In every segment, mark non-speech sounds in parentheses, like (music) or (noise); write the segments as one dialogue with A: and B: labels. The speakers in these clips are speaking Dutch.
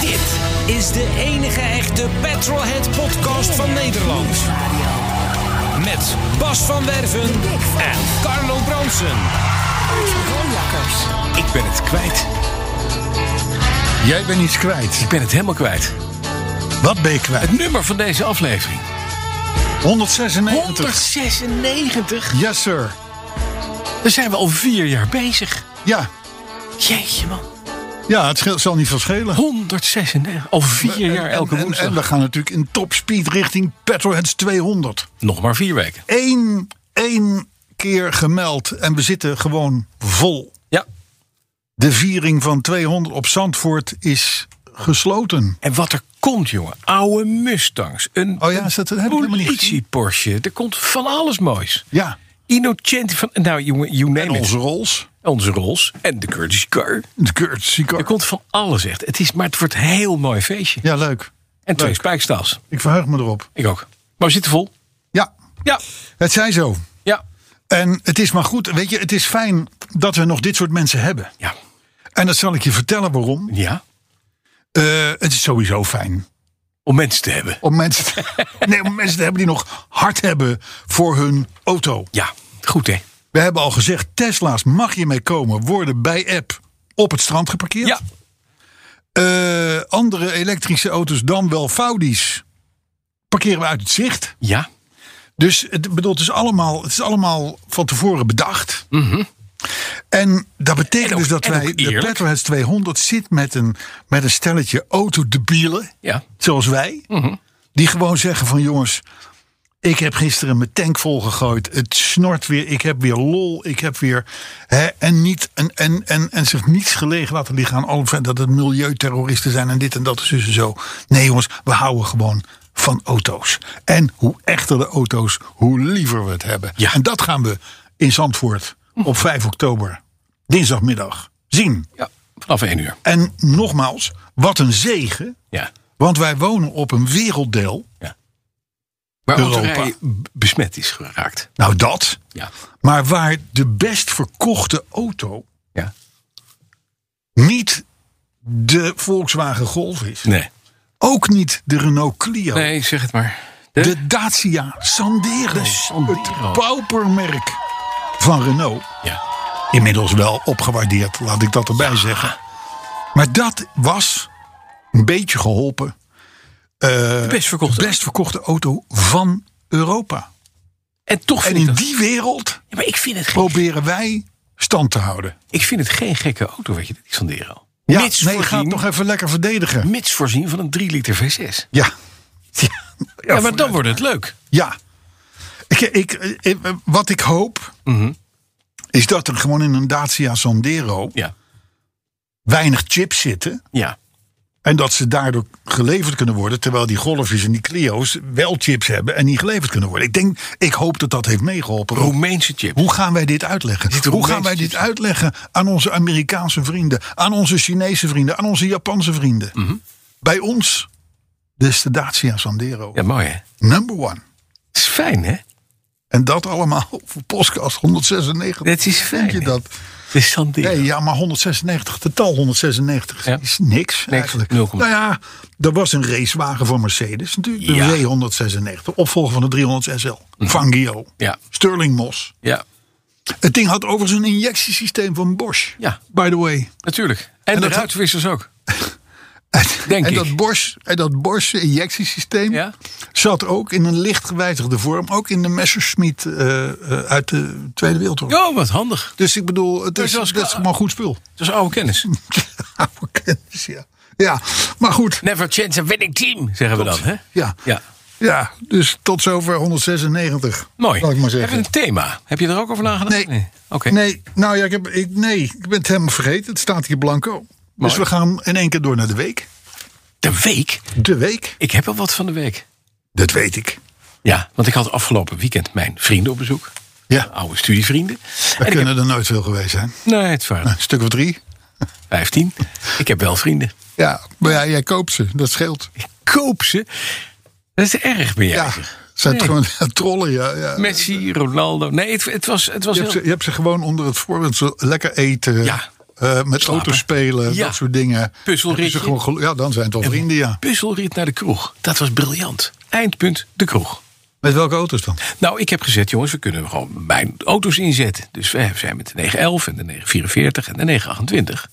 A: Dit is de enige echte Petrolhead podcast van Nederland. Met Bas van Werven en Carlo Bronsen.
B: Ik ben het kwijt. Jij bent iets kwijt.
C: Ik ben het helemaal kwijt.
B: Wat ben je kwijt?
C: Het nummer van deze aflevering.
B: 196.
C: 196.
B: Yes, sir.
C: Daar zijn we al vier jaar bezig.
B: Ja,
C: Jeetje man.
B: ja het scheelt, zal niet veel schelen.
C: 196. Al vier
B: En-
C: jaar
B: en-
C: elke
B: en-
C: woensdag.
B: En, we gaan natuurlijk in topspeed richting Petrolheads 200.
C: Nog maar vier weken.
B: Eén, één keer gemeld en we zitten gewoon vol.
C: Ja.
B: De viering van 200 op Zandvoort is gesloten.
C: En wat er komt jongen. Oude Mustangs. Een
B: Oh ja, is dat, dat heb ik helemaal niet gezien.
C: politie Porsche. Er komt van alles moois.
B: Ja,
C: Innocent van... Nou, you, you name
B: en
C: it.
B: onze Rolls.
C: Onze Rolls. En de Curtis Car.
B: De courtesy car.
C: Er komt van alles echt. Het is, maar het wordt een heel mooi feestje.
B: Ja, leuk.
C: En twee
B: Leuk.
C: spijkstaals.
B: Ik verheug me erop.
C: Ik ook. Maar we zitten vol.
B: Ja,
C: Ja.
B: het zij zo.
C: Ja.
B: En het is maar goed, weet je, het is fijn dat we nog dit soort mensen hebben.
C: Ja.
B: En dat zal ik je vertellen waarom.
C: Ja.
B: Eh, het is sowieso fijn
C: Om mensen te hebben.
B: om mensen, te, (laughs) nee, om mensen te hebben die nog hard hebben voor hun auto.
C: Ja, goed hè?
B: We hebben al gezegd, Tesla's mag je mee komen, worden bij app op het strand geparkeerd.
C: Ja,
B: Eh, andere elektrische auto's dan wel Faudi's parkeren we uit het zicht.
C: ja,
B: Dus het, bedoel, het, is allemaal, het is allemaal van tevoren bedacht. En dat betekent
C: Mhm. En ook-
B: dus dat
C: en
B: wij,
C: ook
B: de
C: eerlijk.
B: Petroheads 200 zit met een, met een stelletje autodebielen,
C: ja. Mhm.
B: zoals wij. Die gewoon zeggen van jongens, ik heb gisteren mijn tank volgegooid. Het snort weer, ik heb weer lol, ik heb weer... Hè, en, niet, en, en, en, en zich niets gelegen laten liggen aan al dat het milieuterroristen zijn en dit en dat en zus en zo. Nee jongens, we houden gewoon van auto's. En hoe echter de auto's, hoe liever we het hebben.
C: Ja.
B: En dat gaan we in Zandvoort op 5 oktober, dinsdagmiddag, zien.
C: ja. Vanaf één uur.
B: En nogmaals, wat een zegen,
C: Ja.
B: want wij wonen op een werelddeel.
C: Waar
B: Europa.
C: autorij b- besmet is geraakt.
B: Nou dat,
C: Ja.
B: Maar waar de best verkochte auto
C: ja.
B: niet de Volkswagen Golf is.
C: Nee.
B: Ook niet de Renault Clio.
C: Nee, zeg het maar. De,
B: De Dacia Sandero.
C: De Sandero.
B: Het paupermerk van Renault.
C: ja.
B: Inmiddels wel opgewaardeerd, laat ik dat erbij zeggen. Maar dat was een beetje geholpen. eh,
C: best verkochte.
B: best verkochte auto van Europa.
C: En toch
B: En
C: vind ik
B: in
C: dat-
B: die wereld
C: Ja, maar ik vind, het geen,
B: proberen wij stand te houden.
C: ik vind het geen gekke auto, weet je, die Sandero.
B: Ja,
C: mits,
B: nee, ga
C: voorzien,
B: het nog even lekker verdedigen.
C: mits voorzien van een 3 liter V6.
B: Ja. Ja,
C: Ja, maar dan wordt het leuk.
B: ja. Ik, ik, ik- wat ik hoop, is dat er gewoon in een Dacia Sandero
C: Ja.
B: weinig chips zitten.
C: Ja.
B: En dat ze daardoor geleverd kunnen worden. Terwijl die Golfjes en die Clio's wel chips hebben en niet geleverd kunnen worden. Ik, denk, ik hoop dat dat heeft meegeholpen.
C: Roemeense chip.
B: Hoe gaan wij dit uitleggen?
C: Zitten
B: Hoe gaan wij
C: Roemeense
B: dit uitleggen aan onze Amerikaanse vrienden, aan onze Chinese vrienden, aan onze Japanse vrienden?
C: Mhm.
B: Bij ons, dus de Dacia Sandero,
C: Ja, mooi hè.
B: number one.
C: Het is fijn hè.
B: En dat allemaal (laughs) voor podcast 196.
C: Het is fijn.
B: Vind je
C: hè?
B: dat?
C: De Sandero.
B: Nee, ja, maar 196, de tal 196
C: Ja.
B: is niks, eigenlijk.
C: 0,0.
B: Nou ja, er was een racewagen van Mercedes natuurlijk. De
C: Ja. Mhm.
B: W196, opvolger van de 300 SL. Van Gio.
C: Ja.
B: Sterling Moss.
C: Ja.
B: Het ding had overigens een injectiesysteem van Bosch.
C: Ja.
B: By the way.
C: Natuurlijk. En, de
B: dat-
C: ruitwissers ook.
B: En,
C: (laughs) Denk
B: en
C: ik.
B: Dat Bosch, en dat Bosch injectiesysteem
C: Ja.
B: zat ook in een licht gewijzigde vorm. Ook in de Messerschmitt eh, eh, uit de Tweede Wereldoorlog.
C: Oh, wat handig.
B: Dus ik bedoel, het
C: Dus
B: is,
C: dat
B: dat
C: is
B: is,
C: klaar.
B: gewoon goed spul. (laughs)
C: Dat is oude kennis.
B: Oude kennis, ja. Ja, maar goed.
C: Never change a winning team, zeggen we dan. Hè?
B: Ja.
C: ja.
B: Ja, dus tot zover 196.
C: Mooi.
B: Zal ik maar
C: Hebben
B: zeggen.
C: we een thema? Heb je er ook over nagedacht?
B: Nee.
C: Oké.
B: Nee, nou ja, ik, heb, ik, nee, ik ben het helemaal vergeten. Het staat hier blanco. Dus we gaan in één keer door naar de week.
C: De week?
B: De week,
C: Ik heb wel wat van de week.
B: dat weet ik.
C: Ja, want ik had afgelopen weekend mijn vrienden op bezoek.
B: Ja,
C: Oude studievrienden. Oh. En
B: er
C: ik heb-
B: kunnen Ah. er nooit veel geweest zijn.
C: nee, het waren
B: Een stuk of drie.
C: 15. Ik heb wel vrienden.
B: Ja, maar ja, jij koopt ze, dat scheelt.
C: Ik koop ze. Dat is erg ben jij.
B: Ja, ze zijn
C: Nee.
B: gewoon (laughs) aan het trollen. Ja, ja.
C: Messi, Ronaldo. Nee, het, het was, het was
B: Je,
C: heel...
B: hebt ze, je hebt ze gewoon onder het voorbeeld lekker eten,
C: Ja.
B: eh, met auto's spelen,
C: Ja.
B: dat soort dingen.
C: Puzzelritje.
B: Hebben ze gewoon gelo- Ja, dan zijn het wel vrienden, ja.
C: Puzzelrit naar de kroeg. Dat was briljant. Eindpunt, de kroeg.
B: Met welke auto's dan?
C: Nou, ik heb gezet, jongens, we kunnen gewoon mijn auto's inzetten. Dus we zijn met de 911 en de 944 en de 928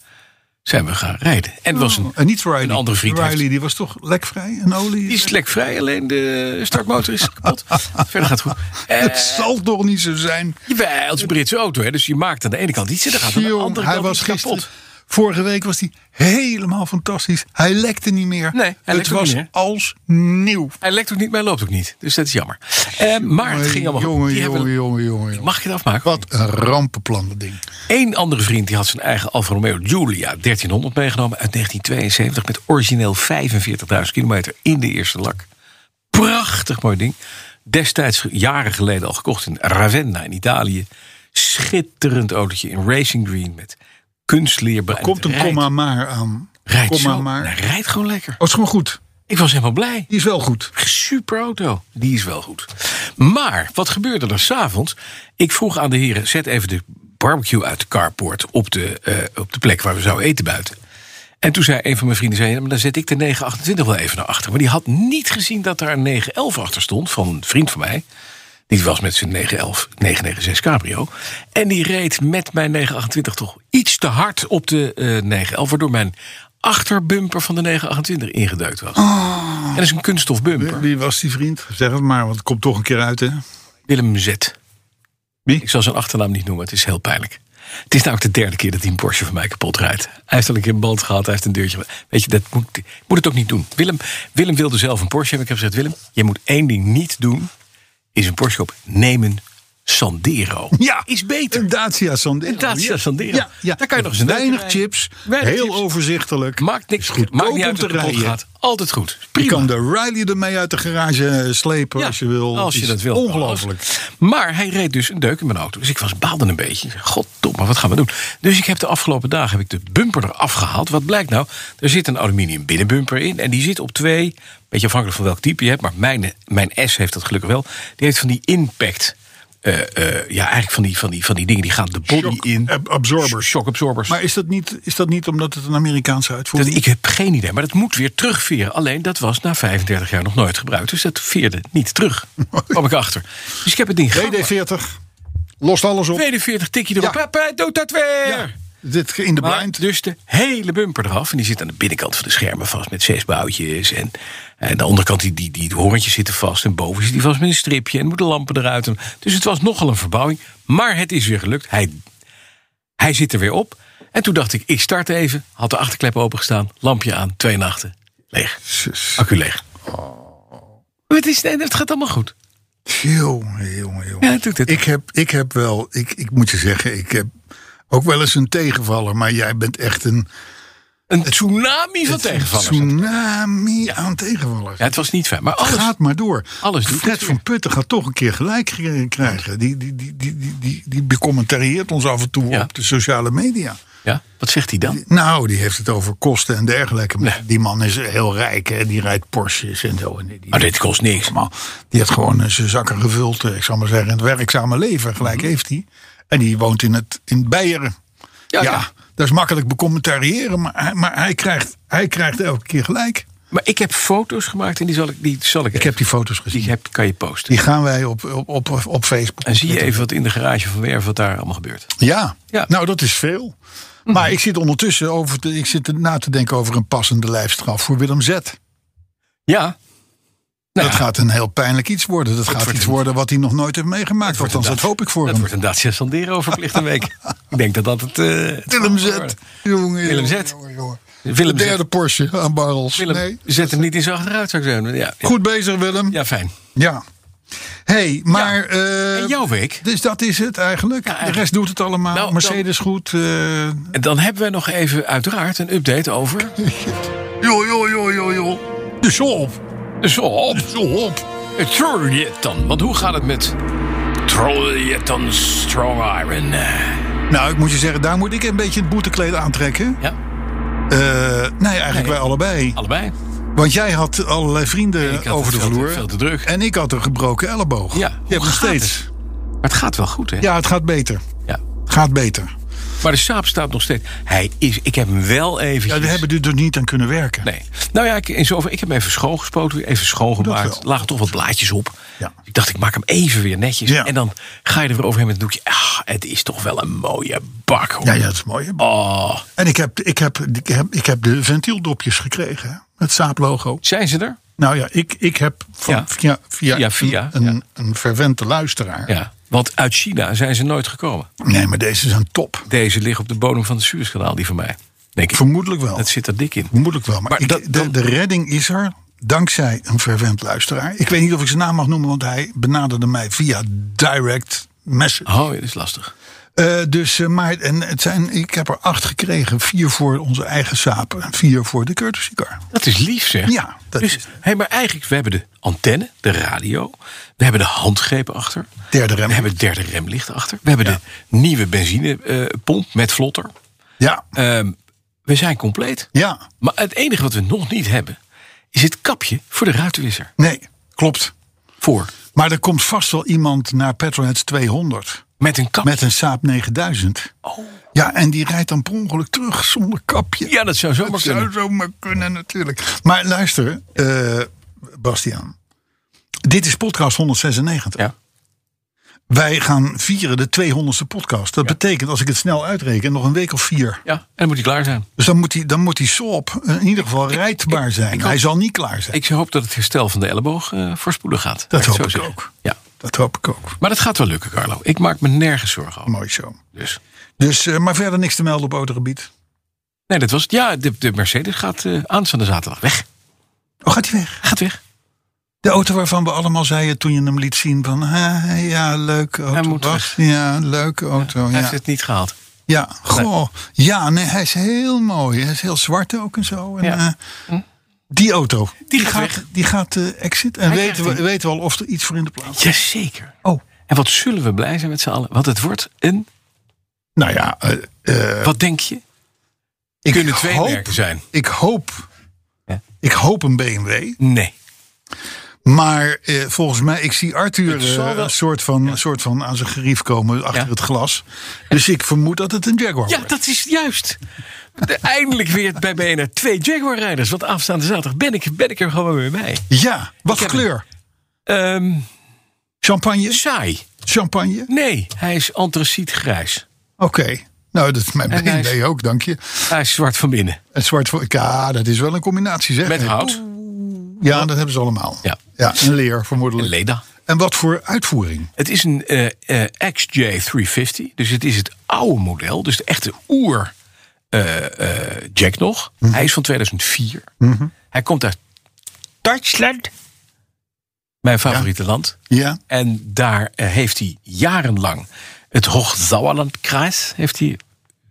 C: zijn we gaan rijden. En het was een,
B: Oh, En Eh, niet Riley.
C: een andere vriend. heeft-
B: Riley, die was toch lekvrij en olie?
C: Die is lekvrij, alleen de startmotor is
B: (laughs)
C: kapot. Verder gaat het goed.
B: Het
C: Eh
B: (laughs) zal toch niet zo zijn.
C: jawel, het is een Britse auto, hè, dus je maakt aan de ene kant iets en dan gaat aan de
B: Jong,
C: andere
B: hij
C: kant
B: was
C: iets
B: gisteren,
C: kapot.
B: Vorige week was hij helemaal fantastisch. Hij lekte niet meer.
C: Nee, hij
B: het
C: lekte ook
B: was
C: niet meer.
B: als nieuw.
C: Hij lekt ook niet, maar hij loopt ook niet. Dus dat is jammer. Eh, maar het ging allemaal goed.
B: jongen,
C: Die
B: jongen,
C: hebben-
B: jongen, jongen, jongen.
C: Mag ik het afmaken?
B: Wat een rampenplan dat ding.
C: Eén andere vriend die had zijn eigen Alfa Romeo Giulia 1300 meegenomen uit 1972 met origineel 45.000 kilometer in de eerste lak. Prachtig mooi ding. Destijds ge- jaren geleden al gekocht in Ravenna in Italië. Schitterend autootje in racing green met kunstleerbaan.
B: Komt een
C: Rijdt-
B: komma maar aan.
C: Rijdt
B: komma
C: zo.
B: maar.
C: Hij
B: Oh,
C: rijdt gewoon lekker.
B: het is gewoon goed.
C: Ik was helemaal blij.
B: Die is wel goed.
C: Super auto. Die is wel goed. Maar wat gebeurde er s'avonds? Ik vroeg aan de heren: zet even de barbecue uit de carport op de, eh, op de plek waar we zouden eten buiten. En toen zei een van mijn vrienden: zei, "Ja, maar dan zet ik de 928 wel even naar achter. Maar die had niet gezien dat daar een 911 achter stond van een vriend van mij. Die was met zijn 911, 996 Cabrio. En die reed met mijn 928 toch iets te hard op de eh 911, waardoor mijn achterbumper van de 928 ingedeukt was. En dat is een kunststof bumper.
B: Wie was die vriend? Zeg het maar, want het komt toch een keer uit, hè?
C: Willem Zet.
B: Wie?
C: Ik zal zijn achternaam niet noemen, het is heel pijnlijk. Het is nou ook de derde keer dat hij een Porsche van mij kapot rijdt. Hij heeft al een keer een band gehad, hij heeft een deurtje. ge- Weet je, dat moet, moet het ook niet doen. Willem, Willem wilde zelf een Porsche hebben. Ik heb gezegd, Willem, je moet één ding niet doen. Is een Porsche kopen. Neem een Sandero.
B: Ja.
C: Is beter.
B: Een Dacia Sandero.
C: Een Dacia
B: Ja.
C: Sandero.
B: Ja, ja.
C: Daar kan je nog eens een
B: Weinig
C: rijden.
B: chips,
C: Weinig
B: heel
C: chips.
B: overzichtelijk.
C: Maakt niks
B: Is
C: goed.
B: goedkoop
C: Maakt niet uit
B: om
C: dat
B: te
C: het kapot
B: rijden.
C: gaat. Altijd goed.
B: Je
C: Prima.
B: kan de Riley ermee uit de garage slepen
C: Ja,
B: als je wil.
C: Als
B: Het
C: je
B: is
C: dat wil.
B: Ongelooflijk.
C: Maar hij reed dus een deuk in mijn auto. Dus ik was baalde een beetje. Ik zeg, God, maar wat gaan we doen? Dus ik heb de afgelopen dagen heb ik de bumper eraf gehaald. Wat blijkt nou? Er zit een aluminium binnenbumper in. En die zit op twee, beetje afhankelijk van welk type je hebt. Maar mijn, mijn S heeft dat gelukkig wel. Die heeft van die impact. eh, eh, ja, eigenlijk van die, van, die, van die dingen die gaan de body
B: Shock
C: in.
B: ab- absorbers.
C: Shock absorbers.
B: Maar is dat, niet, is dat niet omdat het een Amerikaanse
C: Dat,
B: uitvoering is?
C: ik heb geen idee, maar dat moet weer terugveren. Alleen dat was na 35 jaar nog nooit gebruikt. Dus dat veerde
B: (laughs)
C: niet terug. Daar kwam ik achter. Dus ik heb het ding gehaald.
B: DD40 lost alles op.
C: 42 tik je erop.
B: Ja.
C: Papa, doe dat weer!
B: Ja, dit ge- in de
C: Maar
B: blind.
C: dus de hele bumper eraf. En die zit aan de binnenkant van de schermen vast met zes boutjes. En aan de onderkant, die, die, die horentjes zitten vast. En boven zit die vast met een stripje. En moeten lampen eruit. En- Dus het was nogal een verbouwing. Maar het is weer gelukt. Hij, hij zit er weer op. En toen dacht ik, ik start even. Had de achterklep opengestaan. Lampje aan. Twee nachten. Leeg.
B: Zus.
C: Accu leeg. Maar Het, is, nee, het gaat allemaal goed.
B: Jongen, jongen, jongen.
C: Ja, het doet het.
B: Ik heb, ik heb wel, ik, ik moet je zeggen, ik heb ook wel eens een tegenvaller. Maar jij bent echt een
C: Een tsunami van tegenvallers.
B: tsunami aan tegenvallers.
C: Ja, het was niet fijn. Maar alles,
B: Gaat maar door.
C: Alles doet het
B: Fred
C: weer.
B: van Putten gaat toch een keer gelijk k- krijgen. Die, die, die, die, die, die, die becommentarieert ons af en toe
C: Ja.
B: op de sociale media.
C: ja, wat zegt hij dan?
B: Nou, die heeft het over kosten en dergelijke. Maar
C: Nee.
B: Die man is heel rijk, hè? die rijdt Porsches en zo. En die, die-
C: Maar Oh, dit kost niks.
B: Maar die heeft gewoon eh, zijn zakken gevuld, eh, ik zal maar zeggen, in het werkzame leven. Gelijk
C: Mhm.
B: heeft hij. En die woont in, het, in Beieren. Ja,
C: ja.
B: dat is makkelijk becommentariëren, maar, hij, maar hij, krijgt, hij krijgt elke keer gelijk.
C: Maar ik heb foto's gemaakt en die zal ik. Die zal ik,
B: Ik heb die foto's gezien.
C: die heb, kan je posten.
B: Die gaan wij op, op, op, op Facebook.
C: en zie je even wat in de garage van Werf wat daar allemaal gebeurt.
B: Ja.
C: Ja. Mhm.
B: nou dat is veel. Maar ik zit ondertussen over te, ik zit na te denken over een passende lijfstraf voor Willem Z.
C: Ja. Nou
B: dat
C: ja,
B: gaat een heel pijnlijk iets worden. Dat gaat
C: wordt
B: iets
C: een-
B: worden wat hij nog nooit heeft meegemaakt. Althans,
C: wordt
B: dat
C: inderdaad-
B: hoop ik voor
C: dat
B: hem.
C: wordt een Dacia Sandero verplicht een week. ik denk dat dat het. eh, het
B: Willem
C: zal
B: Z.
C: worden.
B: Jongen,
C: Willem
B: jongen,
C: Z.
B: jongen, jongen.
C: Willem,
B: de
C: zet,
B: derde Porsche aan barrels.
C: Willem
B: nee.
C: zet hem niet in zijn achteruit, zou ik zeggen. Ja, ja.
B: Goed bezig, Willem. Ja.
C: ja fijn.
B: hey, maar... eh,
C: En jouw week?
B: Dus dat is het eigenlijk.
C: eigenlijk-
B: De rest doet het allemaal.
C: Nou,
B: Mercedes goed. eh,
C: En dan hebben we nog even, uiteraard, een update over.
B: (laughs) Joh, joh, joh, joh, joh. De op.
C: Zo op.
B: Zo op.
C: Trolljettan. Want hoe gaat het met Trolljettan Strong Iron?
B: Nou, ik moet je zeggen, daar moet ik een beetje het boetekleed aantrekken.
C: Ja,
B: Eh, nee, eigenlijk wij allebei.
C: allebei.
B: Want jij had allerlei vrienden
C: Ik had
B: over de
C: het veel te-
B: vloer.
C: veel te druk.
B: En ik had een gebroken elleboog.
C: Ja,
B: Je
C: hoe
B: hebt nog
C: gaat
B: steeds.
C: het? Maar het gaat wel goed, hè?
B: Ja, het gaat beter.
C: Ja.
B: Het gaat beter.
C: Maar de saap staat nog steeds. Hij is, ik heb hem wel even.
B: Ja, we hebben er dus niet aan kunnen werken.
C: Nee. Nou ja, ik, in zover, ik heb hem even schoongespoten, weer even schoongemaakt.
B: Dat
C: Er
B: wel.
C: lagen toch wat blaadjes op.
B: Ja.
C: Ik dacht, ik maak hem even weer netjes.
B: Ja.
C: En dan ga je er weer overheen met een doekje. Ah, het is toch wel een mooie bak, hoor.
B: Ja, ja, dat is mooi. hè?
C: Oh,
B: En ik heb, ik, heb, ik, heb, ik heb de ventieldopjes gekregen. hè, Met Saap-logo.
C: zijn ze er?
B: Nou ja, ik, ik heb van,
C: Ja.
B: via, via,
C: Via, via,
B: een,
C: ja.
B: een, een verwente luisteraar.
C: Ja. Want uit China zijn ze nooit gekomen.
B: Nee, maar deze zijn top.
C: Deze liggen op de bodem van het Suezkanaal, die van mij. Denk ik.
B: Vermoedelijk wel.
C: Dat zit er dik in.
B: Vermoedelijk wel. Maar,
C: Maar
B: ik-
C: dat-
B: de,
C: dan-
B: de redding is er dankzij een verwend luisteraar. Ik weet niet of ik zijn naam mag noemen, want hij benaderde mij via direct message.
C: Oh, dat is lastig.
B: Eh, dus, eh, maar en het zijn, ik heb er acht gekregen. Vier voor onze eigen sapen en vier voor de courtesy car.
C: Dat is lief, zeg.
B: Ja, dat
C: dus,
B: is-
C: hey, maar eigenlijk, we hebben de antenne, de radio. We hebben de handgrepen achter.
B: Derde rem.
C: We hebben het derde remlicht achter. We hebben
B: Ja.
C: de nieuwe benzinepomp met vlotter.
B: Ja,
C: Ehm, we zijn compleet.
B: ja,
C: Maar het enige wat we nog niet hebben... is het kapje voor de ruitenwisser.
B: nee, klopt.
C: Voor.
B: Maar er komt vast wel iemand naar Petroheads 200
C: Met een kapje.
B: met een Saab 9000.
C: Oh.
B: Ja, en die rijdt dan per ongeluk terug zonder kapje.
C: Ja, dat zou zomaar
B: Dat zou
C: kunnen.
B: zomaar kunnen natuurlijk. Maar luister, eh, Bastiaan. Dit is podcast 196.
C: Ja.
B: Wij gaan vieren de 200ste podcast. Dat betekent, als ik het snel uitreken, nog een week of vier.
C: ja, en dan moet hij klaar zijn.
B: Dus dan moet die, dan moet die sop eh, in ieder geval rijdbaar zijn.
C: ik hoop-
B: Hij zal niet klaar zijn.
C: Ik hoop dat het herstel van de elleboog eh voorspoedig gaat.
B: dat
C: Laat het
B: hoop ik
C: zo zeggen.
B: ook.
C: Ja.
B: Dat hoop ik ook.
C: Maar dat gaat wel lukken, Carlo. Ik maak me nergens zorgen over.
B: Mooi zo.
C: Dus.
B: Dus, eh, maar verder niks te melden op autogebied.
C: Nee, dat was het. Ja, de, de Mercedes gaat eh, aanstaande zaterdag weg.
B: Oh, gaat hij weg?
C: Gaat weg.
B: De auto waarvan we allemaal zeiden toen je hem liet zien van... hè, ja, leuke auto.
C: moet
B: Bas. ja, leuke auto.
C: Hij
B: Ja,
C: heeft het niet gehaald.
B: ja. goh. Ja, nee, hij is heel mooi. Hij is heel zwart ook en zo. En,
C: Ja.
B: eh, die auto.
C: Die gaat
B: gaat,
C: weg.
B: die gaat eh, exit. En
C: krijgt
B: weten we,
C: die.
B: weten we al of er iets voor in de plaats
C: Jazeker.
B: Oh.
C: En wat zullen we blij zijn met z'n allen? Want het wordt een.
B: Nou ja, eh, eh,
C: Wat denk je?
B: ik
C: Kunnen twee
B: hoop,
C: merken zijn?
B: Ik hoop,
C: Ja.
B: ik hoop een BMW.
C: Nee.
B: Oh, Maar eh, volgens mij, ik zie Arthur
C: Het zal
B: eh,
C: wel-
B: een soort van, een soort van aan zijn gerief komen achter
C: Ja.
B: het glas. Dus ik vermoed dat het een Jaguar
C: Ja,
B: wordt.
C: dat is juist. De- Eindelijk weer bij BNR twee Jaguar-rijders. Want aanstaande zaterdag ben ik, ben ik er gewoon weer bij.
B: Ja, wat
C: Ik heb
B: kleur?
C: Ehm,
B: Champagne?
C: saai.
B: Champagne?
C: Nee, hij is antracietgrijs.
B: Oké. Nou, dat is mijn
C: En hij is-
B: BMW ook, dank je.
C: Hij is zwart van binnen.
B: En zwart voor. Ja, dat is wel een combinatie, zeg. (laughs)
C: Met hout.
B: Ja, dat hebben ze allemaal.
C: Ja.
B: en leer,
C: En
B: vermoedelijk.
C: Leda.
B: En wat voor uitvoering?
C: Het is een eh, eh, XJ350. Dus het is het oude model. Dus de echte oer eh, eh, Jack nog.
B: Mhm.
C: Hij is van 2004. Hij komt uit Duitsland. Mijn favoriete land.
B: Ja.
C: En daar eh, heeft hij jarenlang het Hochsauerlandkreis heeft hij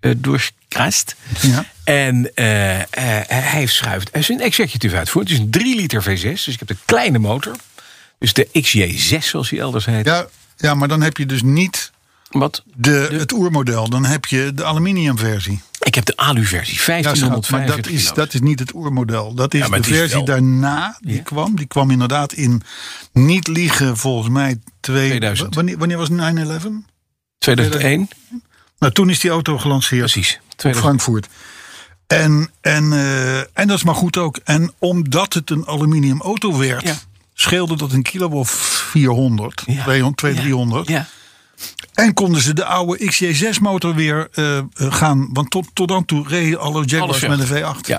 C: eh doorkruist.
B: Ja.
C: En eh, eh, hij schuift. Hij is een executive uitvoer. Het is een 3 liter V6. Dus ik heb de kleine motor. Dus de XJ6 zoals hij elders heet.
B: Ja, ja, maar dan heb je dus niet
C: Wat?
B: de, het oermodel. Dan heb je de aluminiumversie.
C: Ik heb de alu-versie,
B: Ja, schat, maar
C: 1545
B: dat is,
C: kilo.
B: dat is niet het oermodel. Dat is
C: Ja, maar
B: de
C: het is
B: versie
C: wel-
B: daarna die
C: Ja.
B: kwam. Die kwam inderdaad in, niet liegen volgens mij, twee,
C: 2000.
B: Wanneer, wanneer was 9-11?
C: 2001,
B: Nou, toen is die auto gelanceerd.
C: precies.
B: in
C: 2000.
B: Frankfurt. En, en, eh, en dat is maar goed ook. En omdat het een aluminium auto werd,
C: Ja.
B: scheelde dat een kilo of 400,
C: Ja.
B: 200, 200,
C: Ja.
B: 300.
C: Ja.
B: En konden ze de oude XJ6-motor weer eh, eh, gaan. Want tot, tot dan toe reden alle Jaguars
C: Alles
B: met een V8.
C: ja.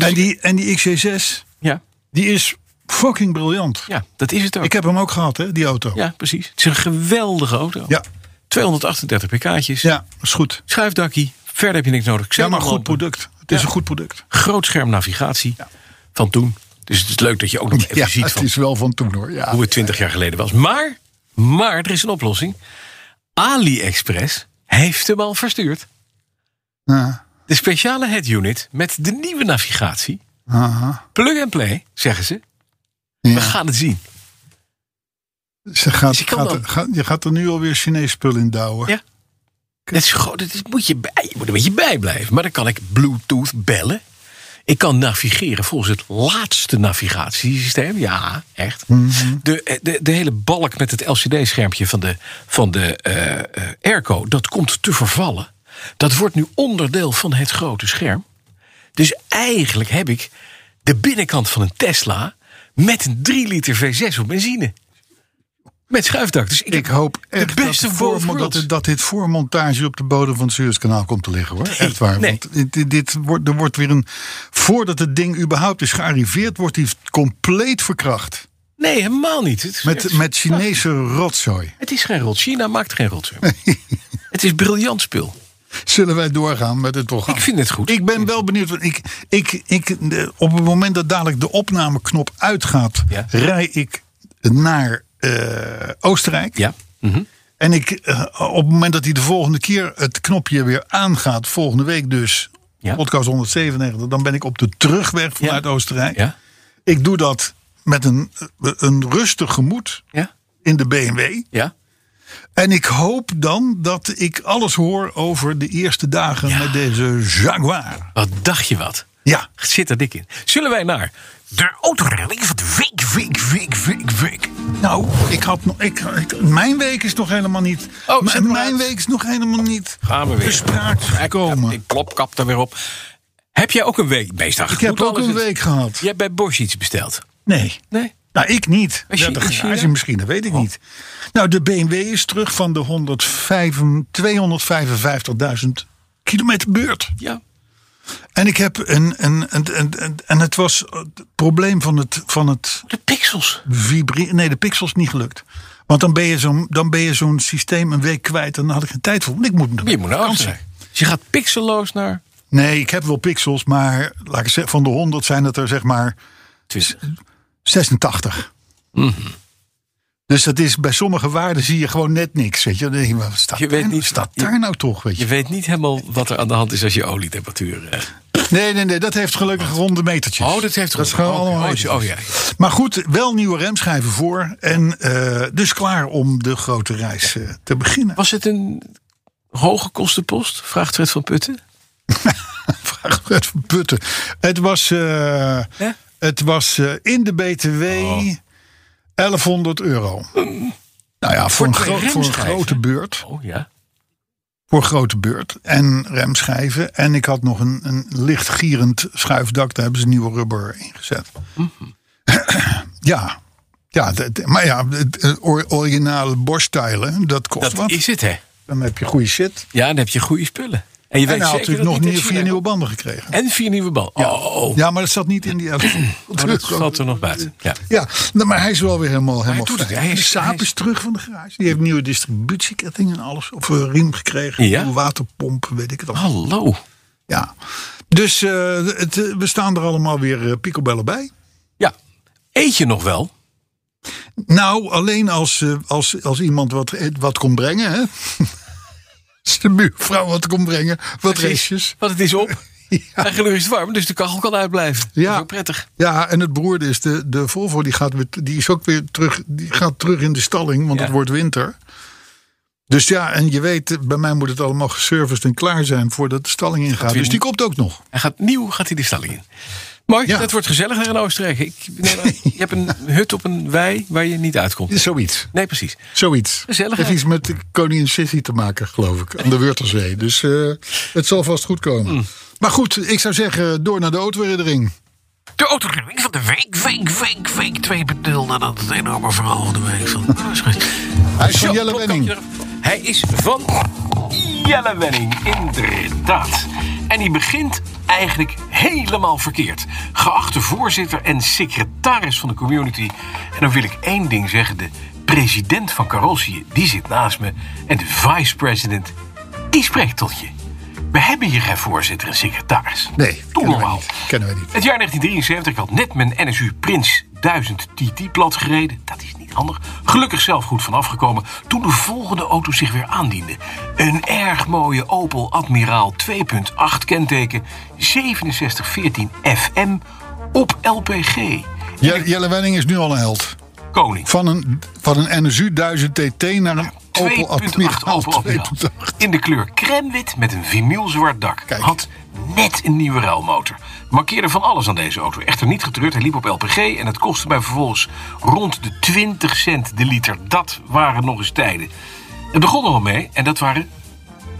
B: En,
C: dus-
B: die, en die XJ6,
C: ja,
B: die is fucking briljant.
C: ja, dat is het ook.
B: Ik heb hem ook gehad, hè, die auto.
C: ja, precies. Het is een geweldige auto.
B: ja,
C: 238 pk'tjes.
B: ja, is goed.
C: Schuifdakkie. Verder heb je niks nodig.
B: Ja, maar goed
C: Xenonlampen.
B: product. Het is
C: Ja.
B: een goed
C: (laughs)
B: product.
C: Groot scherm navigatie van toen. Dus het is leuk dat je ook nog even
B: Ja,
C: ziet
B: het
C: van
B: is wel van toen hoor. Ja.
C: Ah. hoe het 20 jaar geleden was. Maar, maar er is een oplossing. AliExpress heeft hem al verstuurd.
B: Ja.
C: De speciale head unit met de nieuwe navigatie
B: Aha.
C: Plug and play, zeggen ze.
B: Ja.
C: We gaan het zien.
B: Ze gaat,
C: Dus je kan
B: gaat-
C: dan-
B: gaat- je gaat er nu alweer Chinees spul in douwen.
C: Ja. Dat is gewoon, dat is- moet je, bij, je moet een beetje bijblijven. Maar dan kan ik Bluetooth bellen. Ik kan navigeren volgens het laatste navigatiesysteem. Ja, echt.
B: Mhm.
C: de, eh, de, de hele balk met het LCD-schermpje van de, van de eh, eh, airco... dat komt te vervallen. Dat wordt nu onderdeel van het grote scherm. Dus eigenlijk heb ik de binnenkant van een Tesla... met een 3 liter V6 op benzine. Met schuifdak. Dus ik,
B: Ik hoop echt
C: de beste
B: dat,
C: voor
B: voor, dat, dit- dat dit voormontage op de bodem van het Suezkanaal komt te liggen hoor. echt waar.
C: nee.
B: Want dit- dit, dit wordt, er wordt weer een. Voordat het ding überhaupt is gearriveerd, wordt hij compleet verkracht.
C: Nee, helemaal niet. Het, het
B: Met,
C: is-
B: met Chinese rotzooi.
C: het is geen rot. China maakt geen rot.
B: (laughs)
C: het is briljant spul.
B: Zullen wij doorgaan met het programma?
C: Ik vind het goed.
B: Ik ben wel benieuwd. Want ik, ik, ik, eh, op het moment dat dadelijk de opnameknop uitgaat,
C: Ja.
B: rij ik naar eh, Oostenrijk.
C: Ja. Mhm.
B: En ik, eh, op het moment dat hij de volgende keer het knopje weer aangaat, volgende week dus,
C: Ja.
B: podcast 197, dan ben ik op de terugweg vanuit Oostenrijk.
C: Ja.
B: Ik doe dat met een, een rustig gemoed
C: Ja.
B: in de BMW.
C: Ja.
B: En ik hoop dan dat ik alles hoor over de eerste dagen
C: Ja.
B: met deze Jaguar.
C: Wat dacht je wat?
B: Ja.
C: Zit er dik in. Zullen wij naar de autoredding van de week, week, week, week, week.
B: Nou, ik had nog. Ik, ik- mijn week is nog helemaal niet.
C: Oh,
B: M-
C: zet maar
B: mijn
C: uit.
B: week is nog helemaal niet.
C: Gaan we weer.
B: Bespraakt gekomen.
C: Ik klopkap er weer op. Heb jij ook een week? Meestal
B: Ik heb ook een week gehad.
C: Jij hebt bij Bosch iets besteld.
B: Nee.
C: Nee.
B: Nou, ik niet.
C: Als
B: Ja,
C: je- Oh.
B: de
C: als je-
B: garage misschien, dat weet ik niet. Nou, de BMW is terug van de 105 255.000 kilometer beurt.
C: Ja.
B: En ik heb een. een, een, een, een- en het was het probleem van het, van het
C: De pixels.
B: vibreren. Nee, de pixels niet gelukt. Want dan ben je zo'n dan ben je zo'n systeem een week kwijt. En dan had ik geen tijd voor. Want ik moet hem
C: Je moet naar
B: vakantie.
C: Oostenrijk. Dus je gaat pixelloos naar...
B: Nee, ik heb wel pixels. Maar laat ik zeggen, van de 100 zijn het er zeg maar
C: 20.
B: 86.
C: Mhm.
B: Dus dat is, bij sommige waarden zie je gewoon net niks. Weet je, Dan denk je, wat staat,
C: Je weet
B: daar,
C: niet-
B: staat
C: je-
B: daar nou toch? Weet
C: Je
B: je?
C: weet niet helemaal wat er aan de hand is als je olietemperatuur... eh,
B: Nee, nee, nee, dat heeft gelukkig ronde metertjes.
C: Oh, dat heeft
B: Dat is gewoon
C: Oké,
B: allemaal
C: oh,
B: metertjes.
C: oh, ja.
B: Maar goed, wel nieuwe remschijven voor. En eh, dus klaar om de grote reis eh, te beginnen.
C: Was het een hoge kostenpost? Vraagt Fred van Putten.
B: Vraag Fred van Putten. Het was, eh,
C: Ja?
B: het was eh, in de BTW
C: Oh.
B: 1100 euro. Nou ja, voor,
C: Voor
B: een,
C: twee
B: gro- voor een
C: remschijven.
B: grote beurt.
C: Oh ja.
B: voor grote beurt en remschijven. En ik had nog een, een licht gierend schuifdak. Daar hebben ze nieuwe rubber in gezet.
C: Mhm.
B: ja. Ja, dat- maar ja, het eh, or- originale borsttijlen, dat kost
C: Dat
B: wat.
C: is het, hè?
B: Dan heb je goede shit.
C: Ja, dan heb je goede spullen. En je
B: En
C: weet
B: hij had
C: zeker
B: natuurlijk
C: dat
B: nog
C: niet
B: niet
C: uit China
B: vier nieuwe
C: komt.
B: banden gekregen.
C: En vier nieuwe bal. Oh,
B: Ja, maar dat zat niet in
C: (clears throat)
B: die elf.
C: oh, dat valt er nog buiten. Ja.
B: Ja, nou, maar hij is wel weer helemaal helemaal
C: doet het.
B: vrij.
C: Hij is-
B: de
C: hij
B: saap
C: is-
B: is, terug van de garage. Die heeft nieuwe distributieketting en alles. Of eh, riem gekregen.
C: Ja?
B: Nieuwe waterpomp, weet ik het al.
C: Hallo.
B: Ja. Dus eh, het, eh, we staan er allemaal weer eh, picobellen bij.
C: Ja. Eet je nog wel?
B: Nou, alleen als, eh, als, als iemand wat, eh, wat komt brengen, hè? (laughs) Als de buurvrouw wat komt brengen, wat restjes.
C: Want het
B: (laughs)
C: is op. En gelukkig is het warm, dus de kachel kan uitblijven. Ja. Dat
B: Ja.
C: is ook prettig.
B: Ja, en het broerde is, de, de Volvo die gaat, weer- die is ook weer terug, die gaat terug in de stalling, want
C: Ja.
B: het wordt winter. Dus ja, en je weet, eh, bij mij moet het allemaal geserviced en klaar zijn voordat de stalling ingaat.
C: weer
B: Dus die komt ook nog.
C: Hij gaat nieuw gaat hij de stalling in. Mooi,
B: Ja.
C: dat wordt gezellig daar in Oostenrijk. Ik, neem aan, je hebt
B: (laughs)
C: een hut op een wei waar je niet uitkomt.
B: Zoiets.
C: Nee, precies.
B: Zoiets.
C: Gezellig,
B: Het
C: hè?
B: heeft iets met de Koningin Sissy te maken, geloof ik. Aan de Wurterzee. Dus eh, het zal vast goed komen.
C: Mm.
B: Maar goed, ik zou zeggen, door naar de autoherinnering.
D: De autoclimming van de week, week, week, week 2.0. Nadat het enorme verhaal van de week van...
B: (laughs)
D: Ah, is goed.
B: Hij is van
C: Zo,
B: Jelle
C: plopkapje
B: Wenning.
C: eraf. Hij is van Jelle Wenning, inderdaad. En die begint eigenlijk helemaal verkeerd. Geachte voorzitter en secretaris van de community. En dan wil ik één ding zeggen. De president van Carrossië, die zit naast me. En de vice-president, die spreekt tot je. We hebben hier geen voorzitter en secretaris.
B: Nee,
C: Doe
B: kennen we
C: normaal.
B: niet. Kennen we niet.
C: Het jaar 1973 ik had net mijn NSU Prins 1000 TT plat gereden. Dat is niet handig. Gelukkig zelf goed van afgekomen toen de volgende auto zich weer aandiende. Een erg mooie Opel Admiraal 2.8 kenteken 6714 FM op LPG.
B: Je- Jelle Wenning is nu al een held.
C: Koning.
B: Van een, van een NSU 1000 TT naar een Opel
C: 2.8
B: Admiraal.
C: Opel
B: (laughs)
C: Admiraal.
B: 2.8.
C: In de kleur crèmewit met een vinyl-zwart dak.
B: Kijk.
C: Had net een nieuwe ruilmotor. Markeerde van alles aan deze auto. Echter niet getreurd, hij liep op LPG... en het kostte mij vervolgens rond de 20 cent de liter. Dat waren nog eens tijden. Het begon er al mee en dat waren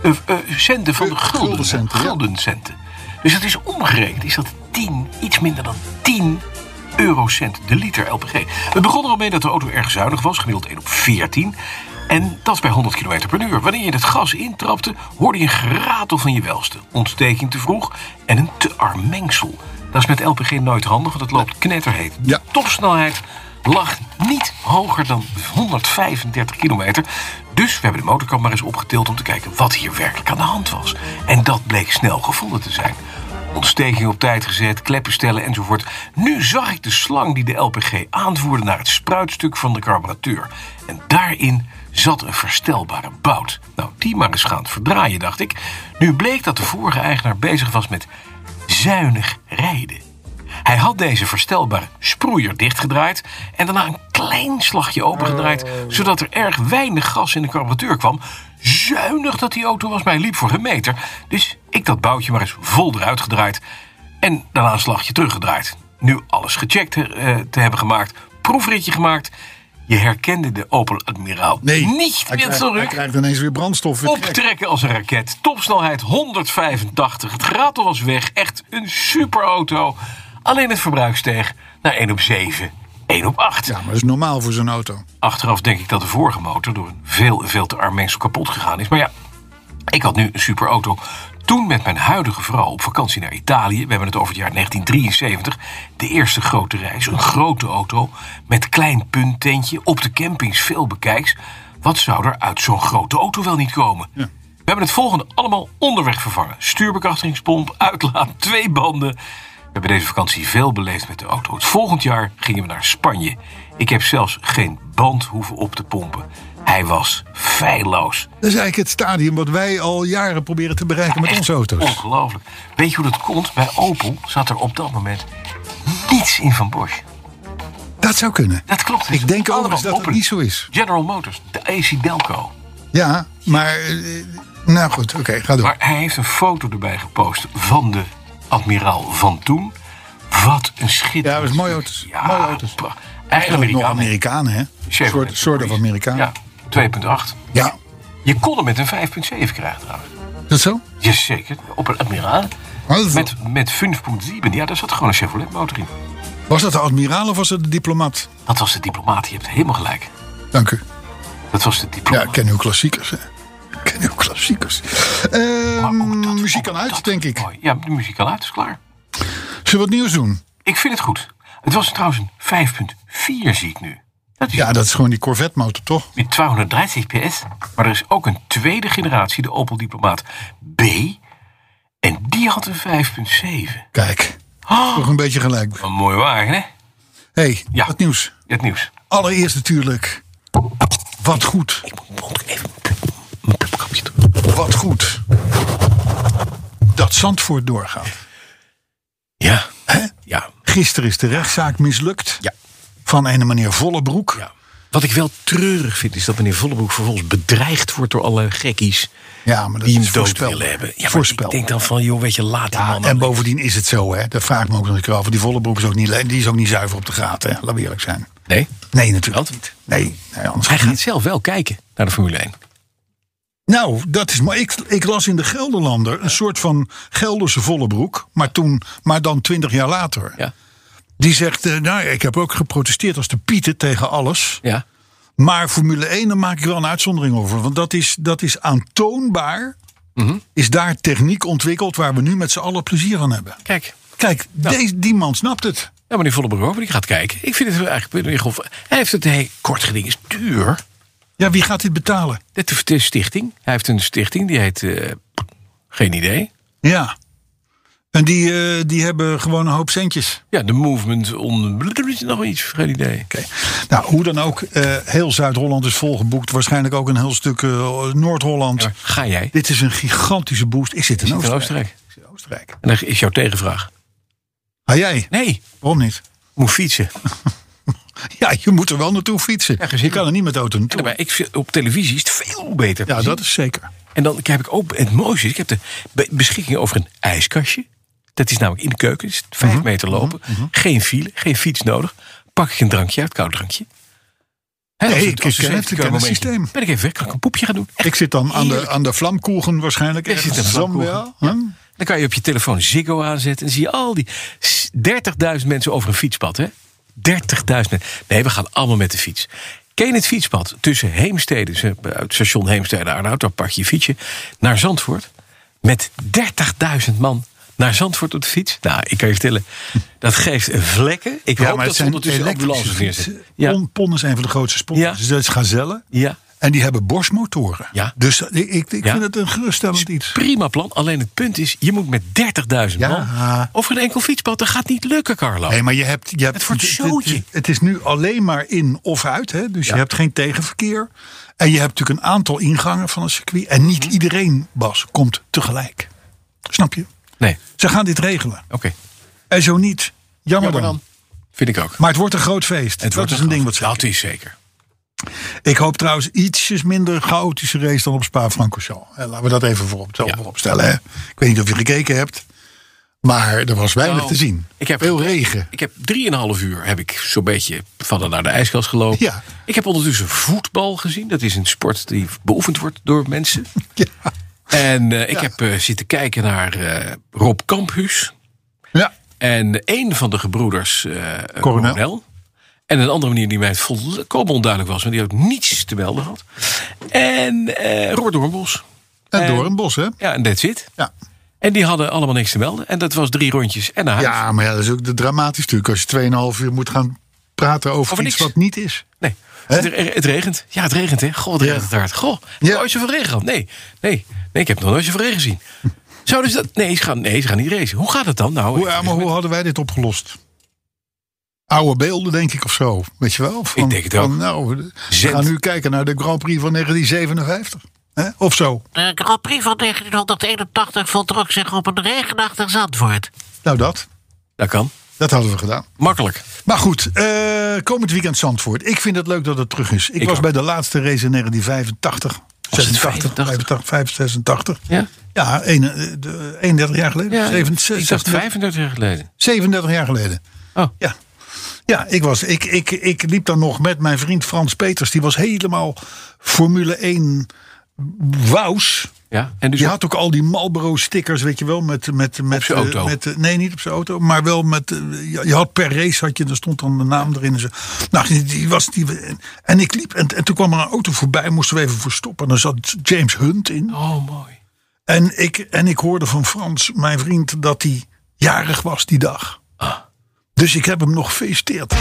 C: eh, eh, centen van de
B: Eh,
C: gulden.
B: guldencenten, ja.
C: Guldencenten. Dus dat is omgerekend. Is dat 10, iets minder dan 10 eurocent de liter LPG. Het begon er al mee dat de auto erg zuinig was. Gemiddeld 1 op 14. En dat bij 100 km per uur. Wanneer je het gas intrapte, hoorde je een geratel van je welste. Ontsteking te vroeg en een te arm mengsel. Dat is met LPG nooit handig, want het loopt knetterheet.
B: Ja.
C: De topsnelheid lag niet hoger dan 135 kilometer. Dus we hebben de motorkap maar eens opgetild om te kijken wat hier werkelijk aan de hand was. En dat bleek snel gevonden te zijn. Ontsteking op tijd gezet, kleppen stellen enzovoort. Nu zag ik de slang die de LPG aanvoerde naar het spruitstuk van de carburateur. En daarin zat een verstelbare bout. Nou, die maar eens gaan verdraaien, dacht ik. Nu bleek dat de vorige eigenaar bezig was met zuinig rijden. Hij had deze verstelbare sproeier dichtgedraaid en daarna een klein slagje
B: Oh.
C: opengedraaid, zodat er erg weinig gas in de carburateur kwam. Zuinig dat die auto was, maar hij liep voor een meter. Dus ik dat boutje maar eens vol eruit gedraaid en daarna een slagje teruggedraaid. Nu alles gecheckt eh, te hebben gemaakt, proefritje gemaakt. Je herkende de Opel Admiraal
B: Nee,
C: niet
B: hij,
C: met
B: krijgt,
C: zijn
B: hij
C: ruk.
B: krijgt ineens weer brandstof.
C: Optrekken als een raket. Topsnelheid 185. Het gratel was weg. Echt een superauto. Alleen het verbruik steeg naar 1 op 7, 1 op 8.
B: Ja, maar dat is normaal voor zo'n auto.
C: Achteraf denk ik dat de vorige motor door een veel, veel te arm mengsel kapot gegaan is. Maar ja, ik had nu een superauto. Toen met mijn huidige vrouw op vakantie naar Italië. We hebben het over het jaar 1973. De eerste grote reis. Een grote auto met klein punttentje. Op de campings veel bekijks. Wat zou er uit zo'n grote auto wel niet komen? We hebben het volgende allemaal onderweg vervangen. Stuurbekachtigingspomp, uitlaat, twee banden. We hebben deze vakantie veel beleefd met de auto. Het volgend jaar gingen we naar Spanje. Ik heb zelfs geen band hoeven op te pompen. Hij was feilloos.
B: Dat is eigenlijk het stadium wat wij al jaren proberen te bereiken met onze auto's.
C: Ongelooflijk. Weet je hoe dat komt? Bij Opel zat er op dat moment niets in van Bosch.
B: Dat zou kunnen.
C: Dat klopt.
B: Ik denk
C: Allemaal
B: overigens dat het
C: Opel.
B: niet zo is.
C: General Motors, de AC Delco.
B: Ja, maar... eh, Nou goed, oké, ga door.
C: Maar hij heeft een foto erbij gepost van de admiraal van toen. Wat een schitterend.
B: Ja, dat is mooie
C: stuk.
B: auto's.
C: Ja,
B: Mooie auto's.
C: pra- Eigen
B: Nog
C: Amerikaan.
B: Amerikanen, hè? Soort, soort of Amerikanen.
C: Ja, 2,8.
B: Ja.
C: Je kon hem met een 5,7 krijgen trouwens.
B: Is dat zo? Oh,
C: Jazeker, op een admiraal.
B: Also.
C: Met, met 5,7. Ja, daar zat gewoon een Chevrolet motor in.
B: Was dat de admiraal of was dat de diplomaat?
C: Dat was de diplomaat, je hebt helemaal gelijk.
B: Dank u.
C: Dat was de
B: Ja,
C: diplomaat.
B: ik ken uw klassiekers. hè. Ik ken uw klassiekers. Ehm,
C: Maar
E: Mm,
C: ook dat-
B: muziek
C: ook
B: aan uit,
C: dat
B: denk ik.
C: mooi. Ja, de muziek aan uit is klaar.
B: Zullen we wat nieuws doen?
C: Ik vind het goed. Het was trouwens een 5.4 zie ik nu. Dat is
B: Ja, dat is gewoon die Corvette-motor, toch?
C: met 230 PS. Maar er is ook een tweede generatie, de Opel Diplomaat B. En die had een 5.7.
B: Kijk,
C: Oh,
B: toch een beetje gelijk.
C: een mooi wagen, hè?
B: hey,
C: Ja.
B: wat nieuws.
C: Het nieuws.
B: Allereerst natuurlijk. Wat goed.
C: Mijn plopkapje terug.
B: Wat goed. Dat Zandvoort doorgaat.
E: Ja.
B: Hè?
E: Ja.
B: Gisteren is de rechtszaak mislukt.
E: Ja.
B: Van een meneer Vollebroek.
E: ja. Wat ik wel treurig vind, is dat meneer Vollebroek vervolgens bedreigd wordt door alle gekkies.
B: Ja, Ah, maar dat
E: die
B: is
E: hem dood
B: voorspel.
E: willen hebben. Ja, maar ik
B: Voorspel.
E: denk dan van, joh, weet je, laat die
B: Ja,
E: man.
B: en bovendien is het zo, hè? Dat vraag ik me ook nog een keer af. want Die Vollebroek is ook niet, le- die is ook niet zuiver op de gaten, hè? Laten we eerlijk zijn.
E: Nee,
B: Nee, natuurlijk
E: Wat?
B: niet. Nee, nee anders
E: hij
B: gaat
E: gaat
B: niet.
E: zelf wel kijken naar de Formule 1.
B: Nou, dat is maar. Ik, ik las in de Gelderlander een soort van Gelderse Vollebroek. Maar, toen, maar dan twintig jaar later.
E: Ja.
B: Die zegt, eh, nou, ik heb ook geprotesteerd als de Pieten tegen alles.
E: Ja.
B: Maar Formule 1, daar maak ik wel een uitzondering over. Want dat is, dat is aantoonbaar. Is daar techniek ontwikkeld waar we nu met z'n allen plezier aan hebben.
E: Kijk.
B: Kijk, deze, die man snapt het.
E: Ja, meneer Vollebroek ook, maar die gaat kijken. Ik vind het wel eigenlijk... meneer Goff- Hij heeft het hey, kort geding, is duur.
B: Ja, wie gaat dit betalen?
E: Dit is de stichting. Hij heeft een stichting, die heet... eh, geen idee.
B: Ja. En die, eh, die hebben gewoon een hoop centjes.
E: Ja, de movement on... Nog iets, geen idee.
B: Nou, hoe dan ook, eh, heel Zuid-Holland is volgeboekt. Waarschijnlijk ook een heel stuk eh, Noord-Holland.
E: Maar ga jij?
B: Dit is een gigantische boost. Ik zit in
E: Zit in
B: Oostenrijk.
E: Oostenrijk. En dan is jouw tegenvraag.
B: Ah, jij?
C: Nee,
B: Waarom niet? (laughs)
C: moet fietsen.
B: Ja, je moet er wel naartoe fietsen. je kan er niet met de auto naartoe.
C: Daarbij, ik, vind- op televisie is het veel beter. te
B: Ja,
C: zien.
B: dat is zeker.
C: En dan heb ik ook en het mooiste. is, Ik heb de be- beschikking over een ijskastje. Dat is namelijk in de keuken. Is vijf
B: Mhm.
C: meter lopen. Geen file, geen fiets nodig. Pak ik een drankje uit, koud drankje. Hè,
B: Nee,
C: als
B: ik-
C: het-
B: ik
C: als er
B: heb-
C: zo'n
B: ik ken het
C: momentje-
B: systeem.
C: Ben ik even weg, kan ik een poepje gaan doen. Echt,
B: Ik zit dan aan de,
C: heerlijk.
B: aan de vlamkoegen waarschijnlijk.
C: Ik zit
B: ergens
C: aan de vlamkoegen.
B: Zandwel, hè?
C: Dan kan je op je telefoon Ziggo aanzetten. En dan zie je al die s- 30.000 mensen over een fietspad. Hè? 30.000 mensen. Nee, we gaan allemaal met de fiets. Ken je het fietspad tussen Heemstede, ze- uit het station Heemstede Arnhout, daar pak je je fietsje, naar Zandvoort. Met 30.000 man naar Zandvoort op de fiets. Nou, ik kan je vertellen, dat geeft vlekken. Ik hoop dat ze ondertussen ambulances neerzetten.
B: Ja.
C: Ja,
B: ponnen zijn van de grootste sponsors.
C: Ja.
B: Dus dat is gazellen.
C: ja.
B: En die hebben borstmotoren.
C: Ja.
B: Dus dat- ik, ik, ik
C: Ja.
B: vind het een geruststellend iets.
C: Prima plan, alleen het punt is, je moet met 30.000 man
B: Ja.
C: over een enkel fietspad. Dat gaat niet lukken, Carlo.
B: Nee, maar je hebt, je hebt,
C: Oh. Het wordt
B: het-
C: zootje.
B: Het, het is nu alleen maar in of uit. Hè? Dus je hebt geen tegenverkeer. En je hebt natuurlijk een aantal ingangen van een circuit. En niet
C: Mhm.
B: iedereen, Bas, komt tegelijk. Snap je?
C: Nee,
B: Ze gaan dit regelen.
C: oké.
B: En zo niet, jammer,
C: Jammer
B: dan.
C: dan. Vind ik ook.
B: Maar het wordt een groot feest. dat
C: wordt
B: is een ding wat
C: groot-
B: zeker
C: Dat is zeker.
B: Ik hoop trouwens ietsjes minder chaotische race dan op Spa-Francorchamps. Eh, Laten we dat even voorop, zo
C: Ja.
B: voorop stellen. Hè? Ik weet niet of je gekeken hebt, maar er was weinig
C: Nou,
B: te zien.
C: ik heb-
B: Veel regen.
C: Ik heb 3,5 uur heb ik zo'n beetje van en naar de ijskast gelopen.
B: Ja.
C: Ik heb ondertussen voetbal gezien. Dat is een sport die beoefend wordt door mensen.
B: Ja.
C: En eh, ik heb eh, zitten kijken naar eh, Rob Kamphuus.
B: Ja.
C: En een van de gebroeders, eh eh,
B: Coronel.
C: Coronel. En een andere manier die mij volkomen onduidelijk was. Want die ook niets te melden had. En eh Roor Doornbos.
B: En door een bos, hè?
C: Ja, en that's it.
B: Ja.
C: En die hadden allemaal niks te melden. En dat was drie rondjes en naar huis.
B: ja, maar ja, dat is ook de dramatisch natuurlijk. Als je 2,5 uur moet gaan praten over,
C: Over
B: iets
C: niks.
B: wat niet is.
C: Nee. Het, re- het regent. Ja, het regent, hè? Goh, het
B: Ja.
C: regent het hard. Goh, heb
B: Ja.
C: je ooit zoveel regen gehad? Nee, nee, nee, ik heb nog nooit zoveel regen
B: (laughs)
C: gezien. Zouden ze dat... Nee, ze gaan, nee, ze gaan niet racen. Hoe gaat het dan? Nou,
B: Hoe, ja, maar hoe hadden wij dit opgelost? Oude beelden, denk ik, of zo. Weet je wel? Van-
C: Ik denk het ook.
B: van, nou, we
C: Zend.
B: gaan nu kijken naar de Grand Prix van 1957. Hè? Of zo.
F: De Grand Prix van 1981 voltrok zich op een regenachtig Zandvoort.
B: Nou, dat.
C: Dat kan.
B: Dat hadden we gedaan.
C: Makkelijk.
B: Maar goed, eh, komend weekend Zandvoort. Ik vind het leuk dat het terug is. Ik,
C: Ik
B: was
C: ook.
B: bij de laatste race in 1985.
C: het
B: 86, 85, 85, 86.
C: Ja?
B: Ja, een, eh, de- 31 jaar geleden.
C: ja
B: 37,
C: ik dacht 35 jaar geleden.
B: 37 jaar geleden.
C: Oh.
B: Ja, ja ik, was, ik, ik, ik liep dan nog met mijn vriend Frans Peters. Die was helemaal Formule 1 wous.
C: Ja, en dus
B: Je had ook al die Marlboro stickers, weet je wel, met... met, met
C: zijn
B: eh,
C: auto.
B: Met, eh, nee, niet op zijn auto, maar wel met... eh, je- je had per race, had je, er stond dan de naam erin. En zo. Nou, die, die was... Die, en ik liep, en, en toen kwam er een auto voorbij, moesten we even voor stoppen. En daar zat James Hunt in.
C: Oh, mooi.
B: En ik, en ik hoorde van Frans, mijn vriend, dat hij jarig was die dag.
C: Ah.
B: Dus ik heb hem nog gefeliciteerd.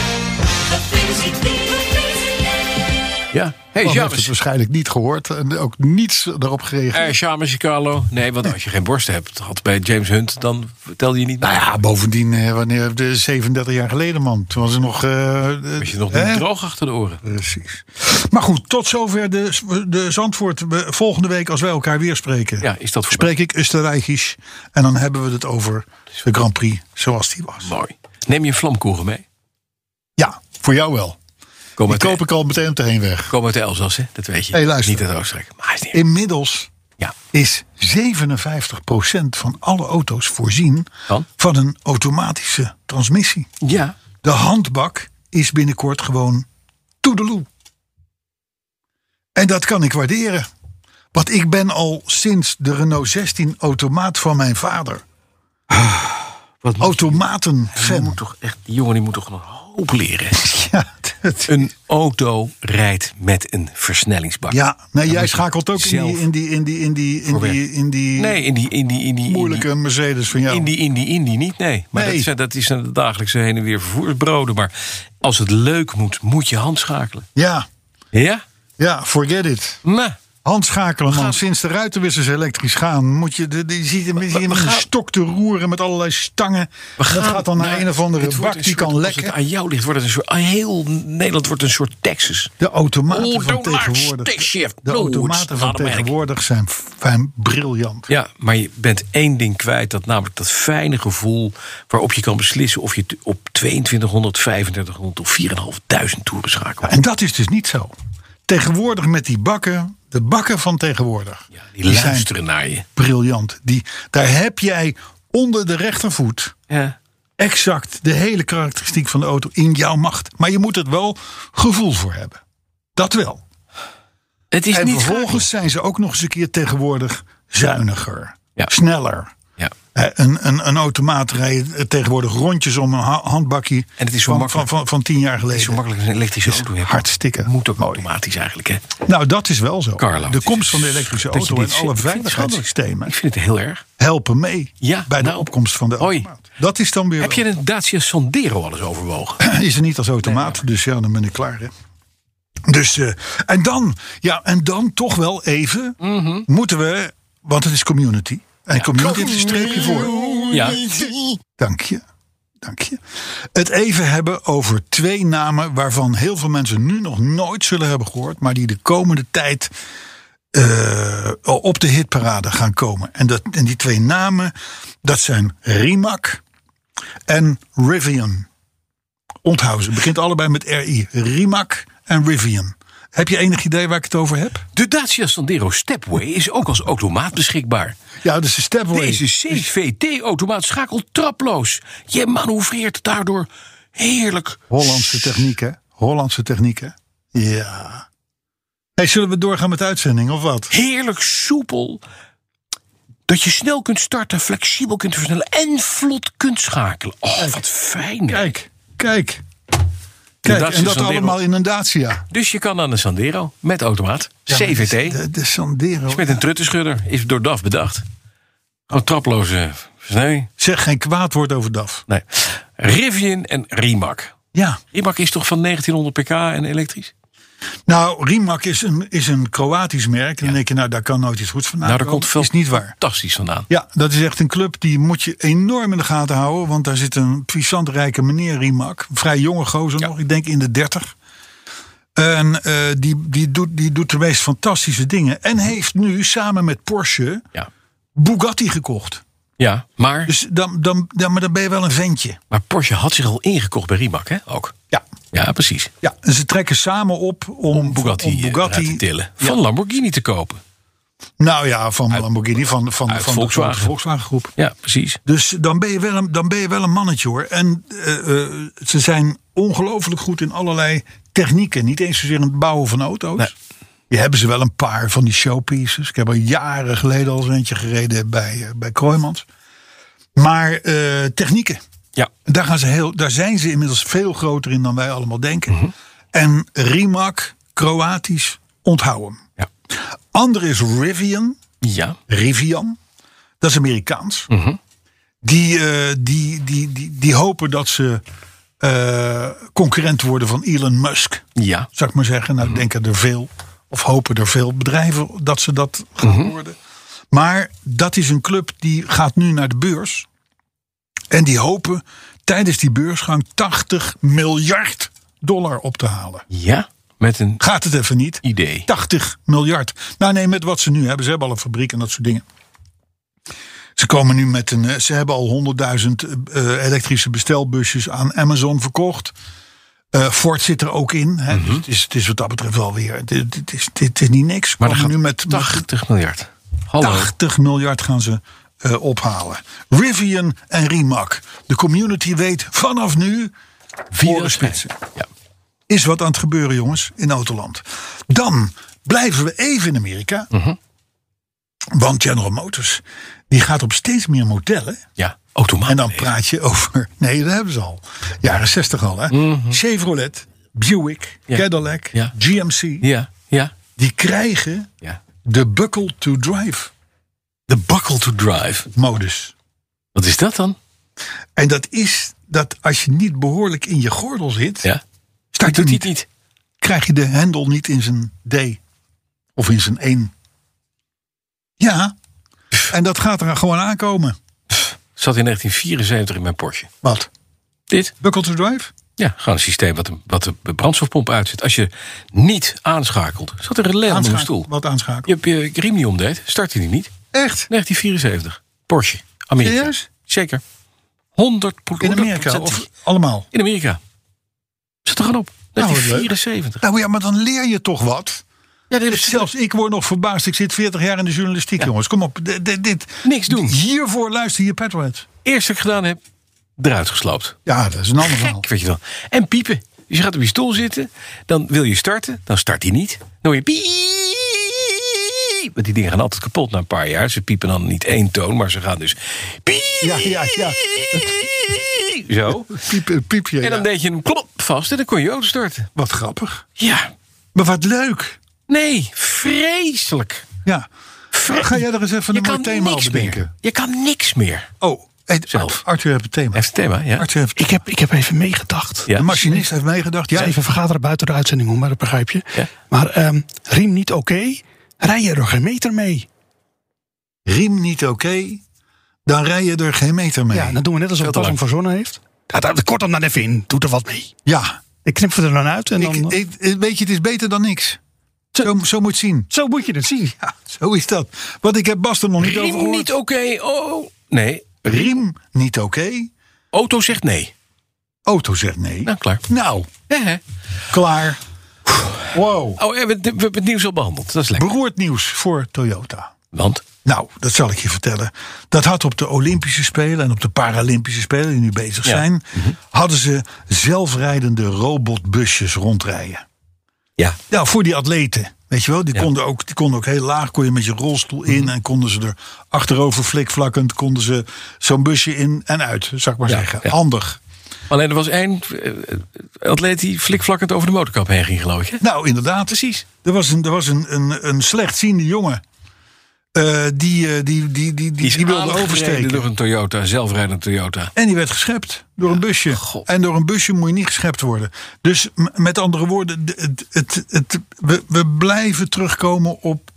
C: Ja. Hé, hey,
B: Hij heeft het
C: James.
B: waarschijnlijk niet gehoord en ook niets daarop gereageerd.
C: Eh, James, Carlo. Nee, want als je geen borst hebt, had bij James Hunt, dan telde je niet.
B: Nou ja, bovendien, eh, wanneer, de 37 jaar geleden, man. Toen was er nog... eh,
C: was je nog
B: hè?
C: niet droog achter de oren.
B: Precies. Maar goed, tot zover de, de Zandvoort. We- Volgende week als wij elkaar weer spreken,
C: Ja, is dat voorbij?
B: spreek ik Oostenrijkisch. En dan hebben we het over de Grand Prix zoals die was.
C: Mooi. Neem je een vlamkoegen mee?
B: Ja, voor jou wel.
C: Kom
B: Die
C: uit,
B: koop
C: de,
B: ik al meteen op de heenweg.
C: kom uit de Elzas, hè? Dat weet je.
B: Hey, luister.
C: Niet uit Oostenrijk. Maar hij is niet...
B: Inmiddels
C: Ja.
B: is 57% van alle auto's voorzien
C: Van?
B: van een automatische transmissie.
C: Ja.
B: De handbak is binnenkort gewoon toedeloe. En dat kan ik waarderen. Want ik ben al sinds de Renault 16 automaat van mijn vader.
C: Ah, Wat moet,
B: Automaten
C: die moet
B: fan.
C: toch echt, die jongen die moet toch nog een hoop leren.
B: (laughs) Ja, dat-
C: Een auto rijdt met een versnellingsbak.
B: ja nee, jij
C: moet je
B: schakelt ook in die,
C: zelf
B: in die, in die, in die, in die, in die
C: Nee, in die, in die, in die,
B: moeilijke Mercedes van jou.
C: In die, in die, in die niet, nee. Maar
B: Nee.
C: Dat, zijn, dat is een dagelijkse heen en weer vervoersbroden. Maar als het leuk moet, moet je handschakelen.
B: Ja,
C: Ja?
B: ja, forget it.
C: Nou,
B: Hans Schakelenman, sinds de ruitenwissers elektrisch gaan, moet je, de, de, je ziet hem je ziet hem
C: we
B: met een
C: gaan-
B: stok te roeren met allerlei stangen. Dat gaat dan naar, een of andere
C: het wordt
B: bak
C: een
B: die
C: soort-
B: kan
C: Als
B: lekken.
C: het aan jou ligt, wordt het een soort. ah, Heel Nederland wordt een soort Texas.
B: De automaten
C: Oh,
B: van
C: don't like
B: tegenwoordig.
C: stick shift.
B: De
C: No, it's
B: automaten van
C: not a manic.
B: tegenwoordig zijn, zijn briljant.
C: Ja, maar je bent één ding kwijt. Dat namelijk dat fijne gevoel waarop je kan beslissen of je t- op 2200, 3500 of 4500 toeren schakelt.
B: En dat is dus niet zo. Tegenwoordig met die bakken, de bakken van tegenwoordig.
C: Ja, die luisteren naar je.
B: zijn briljant. Die, daar heb jij onder de rechtervoet
C: Ja.
B: exact de hele karakteristiek van de auto in jouw macht. Maar je moet het wel gevoel voor hebben. Dat wel.
C: Het is
B: en
C: niet
B: vervolgens zijn ze ook nog eens een keer tegenwoordig zuiniger,
C: Ja.
B: sneller.
C: Ja.
B: Eh, Een, een, een automaat rijdt eh, tegenwoordig rondjes om een ha- handbakje
C: En het is zo
B: van, van,
C: makkelijk.
B: van, van tien jaar
C: Het
B: geleden.
C: is zo makkelijk als een elektrische auto hebt.
B: Hartstikke
C: Moet ook
B: mooi.
C: automatisch eigenlijk, hè?
B: Nou, dat is wel zo.
C: Carlo.
B: de
C: het
B: komst
C: is-
B: van de elektrische
C: dat je
B: auto
C: dit
B: en
C: zegt,
B: alle
C: ik vind het schandelijk.
B: veiligheidssystemen
C: Ik vind het heel erg.
B: helpen mee
C: Ja,
B: bij de
C: nou.
B: opkomst van de
C: Hoi.
B: automaat. Dat is dan weer.
C: Heb je een Dacia Sandero al eens overwogen?
B: (laughs) (clears throat) is er niet als automaat, dus ja, dan ben ik klaar. Hè. Dus, eh, en dan, ja, en dan toch wel even moeten we, want het is community. En community heeft een streepje voor.
C: Ja.
B: Dank je. Dank je. Het even hebben over twee namen waarvan heel veel mensen nu nog nooit zullen hebben gehoord, maar die de komende tijd eh, op de hitparade gaan komen. En, dat, en die twee namen, dat zijn Rimac en Rivian. Onthouden ze. Het begint allebei met RI. Rimac en Rivian. Heb je enig idee waar ik het over heb?
C: De Dacia Sandero Stepway is ook als automaat beschikbaar.
B: Ja, dat is de Stepway.
C: Deze CVT-automaat schakelt traploos. Je manoeuvreert daardoor heerlijk.
B: Hollandse techniek, hè? Hollandse techniek, hè? Ja. Hey, zullen we doorgaan met de uitzending, of wat?
C: Heerlijk soepel. Dat je snel kunt starten, flexibel kunt versnellen en vlot kunt schakelen. Oh, wat fijn. hè.
B: Kijk, kijk.
C: De
B: Kijk,
C: Dacia
B: en dat
C: Sandero.
B: allemaal in een Dacia.
C: Dus je kan aan de Sandero met automaat. CVT.
B: De, de Sandero.
C: Is met een truttenschudder. Is door DAF bedacht. Oh, traploze versnelling.
B: Zeg geen kwaad woord over DAF.
C: Nee. Rivian en Rimac.
B: Ja.
C: Rimac is toch van 1900 pk en elektrisch?
B: Nou, Rimac is een, is een Kroatisch merk. En dan denk je, nou, daar kan nooit iets goeds van
C: Nou, daar
B: aankomen.
C: komt veel
B: Is niet waar.
C: fantastisch vandaan.
B: Ja, dat is echt een club die moet je enorm in de gaten houden. Want daar zit een puissant rijke meneer Rimac. een Vrij jonge gozer nog, ik denk in de dertig. En eh, die, die, doet, die doet de meest fantastische dingen. En heeft nu samen met Porsche
C: Ja,
B: Bugatti gekocht.
C: ja maar,
B: Dus dan, dan, dan, maar dan ben je wel een ventje.
C: maar Porsche had zich al ingekocht bij Rimac, hè? Ook.
B: Ja.
C: Ja, precies.
B: ja. En ze trekken samen op om,
C: Om Bugatti, eh,
B: om Bugatti-
C: eruit te tillen. Van Lamborghini te kopen.
B: nou ja, van Lamborghini, van, van,
C: uit
B: van de
C: Volkswagen.
B: Volkswagen groep.
C: Ja, precies.
B: Dus dan ben je wel een, dan ben je wel een mannetje hoor. En eh, eh, ze zijn ongelooflijk goed in allerlei technieken. Niet eens zozeer in het bouwen van auto's.
C: Nee.
B: Je hebben ze wel een paar van die showpieces. Ik heb al jaren geleden al eens eentje gereden bij, eh, bij Kroijmans. Maar eh, technieken.
C: Ja.
B: Daar, gaan ze heel, daar zijn ze inmiddels veel groter in dan wij allemaal denken. En Rimac, Kroatisch, onthouden.
C: Ja.
B: Ander is Rivian.
C: Ja.
B: Rivian. Dat is Amerikaans. die, eh, die, die, die, die hopen dat ze eh, concurrent worden van Elon Musk.
C: Ja.
B: Zou ik maar zeggen. Nou, denken er veel. Of hopen er veel bedrijven dat ze dat gaan worden. Maar dat is een club die gaat nu naar de beurs. En die hopen tijdens die beursgang 80 miljard dollar op te halen.
C: Ja. Met een
B: Gaat het even niet?
C: idee.
B: 80 miljard. Nou nee, met wat ze nu hebben. Ze hebben al een fabriek en dat soort dingen. Ze komen nu met een. eh, Ze hebben al 100.000 eh, elektrische bestelbusjes aan Amazon verkocht. Eh, Ford zit er ook in. Hè.
C: Mhm.
B: Dus het, is, het is wat dat betreft wel weer. Het, het- het is, dit is niet niks.
C: Maar dan
B: Komen
C: gaat
B: nu met, met
C: 80 miljard. Hallo.
B: 80 miljard gaan ze eh, ophalen. Rivian en Rimac. De community weet vanaf nu.
C: Wie
B: oren
C: dat
B: spitsen
C: zijn. Ja.
B: is wat aan het gebeuren, jongens, in Autoland. Dan blijven we even in Amerika.
C: Mhm.
B: Want General Motors die gaat op steeds meer modellen.
C: Ja. Automaat.
B: En dan
C: Nee.
B: praat je over. (laughs) Nee, dat hebben ze al. Jaren 60 al, hè? Chevrolet, Buick,
C: Mhm. Ja.
B: Cadillac,
C: Ja.
B: GMC.
C: Ja. Ja.
B: Die krijgen
C: Ja.
B: de buckle to drive
C: De buckle to drive.
B: modus.
C: Wat is dat dan?
B: En dat is dat als je niet behoorlijk in je gordel zit,
C: Ja.
B: start
C: Doet
B: je
C: hij
B: niet.
C: het niet?
B: Krijg je de hendel niet in zijn D of in zijn 1. Ja, en dat gaat er gewoon aankomen.
C: Zat in 1974 in mijn Porsche.
B: Wat?
C: Dit?
B: Buckle to drive?
C: Ja, gewoon een systeem wat de, wat de brandstofpomp uitzet. Als je niet aanschakelt, zat er een relais onder
B: Aanscha-
C: mijn stoel.
B: Wat
C: Je
B: aanschakelen.
C: hebt je riem niet omdeed, startte die niet.
B: Echt?
C: 1974. Porsche. Amerika.
B: Serieus?
C: Zeker. 100 pro-
B: In Amerika
C: 100%
B: of allemaal?
C: In Amerika. Zet er gewoon op.
B: Nou, wat leuk.
C: 1974.
B: Nou ja, maar dan leer je toch wat.
C: ja, dit is
B: Zelfs ik word nog verbaasd. Ik zit 40 jaar in de journalistiek, jongens. Kom op. Dit, dit- dit-
C: Niks doen.
B: Hiervoor luister je Petrohead.
C: Eerst dat ik gedaan heb, eruit gesloopt.
B: Ja, dat is een ander verhaal.
C: Gek, weet je wel. En piepen. Dus je gaat op je stoel zitten, dan wil je starten, dan start hij niet. Dan hoor je piep. Want die dingen gaan altijd kapot na een paar jaar. Ze piepen dan niet één toon, maar ze gaan dus piep.
B: Ja, ja, ja.
C: (laughs) Zo.
B: Piep, piepje.
C: En dan
B: ja.
C: deed je hem klop vast en dan kon je auto starten.
B: Wat grappig.
C: Ja.
B: Maar wat leuk.
C: Nee, vreselijk.
B: Ja.
C: Vre-
B: Ga jij er eens even
C: je
B: een mooi
C: kan
B: thema
C: niks
B: op bedenken?
C: meer. Je kan niks meer.
B: Oh, hey,
C: Zelf.
B: Arthur heeft het thema.
C: Heeft het thema, ja.
B: Arthur heeft
G: Ik heb, ik heb even meegedacht.
C: Ja.
B: De machinist heeft meegedacht.
G: Ja.
B: Ja,
G: Even vergaderen buiten de uitzending om, maar dat begrijp je.
C: Ja.
G: Maar ehm, riem niet oké, rij je er geen meter mee.
B: riem niet oké, dan rij je er geen meter mee.
G: Ja, dan doen we net alsof het
C: te
G: pas hem
C: lang.
G: verzonnen heeft. Ja, daar- kort hem dan even in, doe er wat mee.
B: Ja.
G: Ik knip er dan uit en
B: Ik,
G: dan... eh,
B: ik- weet je, het is beter dan niks. Zo, zo moet je het zien.
G: zo moet je het zien.
B: Ja, zo is dat. Want ik heb Bas er nog niet over
C: Riem
B: gehoord.
C: niet oké. Oh. Nee.
B: Riem niet oké.
C: Auto zegt nee.
B: Auto zegt nee.
C: Nou, klaar.
B: Nou,
C: Ja, hè.
B: klaar. Wow.
C: Oh, we hebben, we hebben het nieuws al behandeld. Dat is lekker.
B: Beroerd nieuws voor Toyota.
C: Want?
B: Nou, dat zal ik je vertellen. Dat had op de Olympische Spelen en op de Paralympische Spelen, die nu bezig
C: Ja. Mhm.
B: zijn, hadden ze zelfrijdende robotbusjes rondrijden.
C: Ja.
B: Ja, voor die atleten. Weet je wel, die,
C: Ja. Mhm.
B: konden ook, die konden ook heel laag, kon je met je rolstoel in en konden ze er achterover flikvlakkend, konden ze zo'n busje in en uit, zou ik maar
C: Ja,
B: zeggen.
C: ja.
B: Handig.
C: Alleen er was één eh, atleet die flikvlakkend over de motorkap heen ging, geloof ik. hè?
B: Nou, inderdaad.
C: Precies.
B: Er was een, er was een, een, een slechtziende jongen. eh, die, eh, die, die, die, die,
C: is
B: die wilde
C: aangereden door
B: oversteken.
C: een Toyota, een zelfrijdende Toyota.
B: En die werd geschept door een busje.
C: God.
B: En door een busje moet je niet geschept worden. Dus m- met andere woorden, d- het, het, het, we, we blijven terugkomen op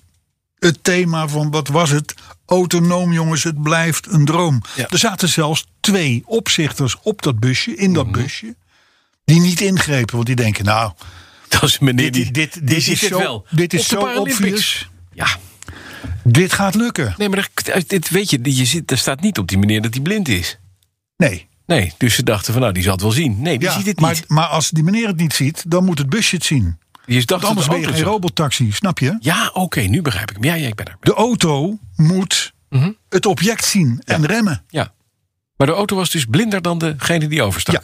B: het thema van wat was het? Autonoom jongens, het blijft een droom.
C: Ja.
B: Er zaten zelfs twee opzichters op dat busje, in dat
C: Mhm.
B: busje. Die niet ingrepen, want die denken nou...
C: Dat is een meneer
B: Dit,
C: die...
B: dit, dit,
C: die
B: is,
C: ziet het
B: zo,
C: wel.
B: dit is
C: Op de
B: zo
C: Paralympics.
B: obvious.
C: Ja.
B: Dit gaat lukken.
C: Nee, maar dat- dit, weet je, je zit, er staat niet op die meneer dat hij blind is.
B: Nee.
C: Nee, dus ze dachten van, nou, die zal het wel zien. Nee, die
B: Ja,
C: ziet het
B: maar,
C: niet.
B: maar als die meneer het niet ziet, dan moet het busje het zien.
C: Die is dacht
B: Want anders
C: dat
B: ben
C: de
B: je
C: auto
B: geen
C: het zag.
B: robottaxi, snap je?
C: Ja, oké, nu begrijp ik hem. Ja, ja, ik ben er.
B: De auto moet het object zien en remmen.
C: Mhm. Ja. Maar de auto was dus blinder dan degene die overstak.
B: Ja.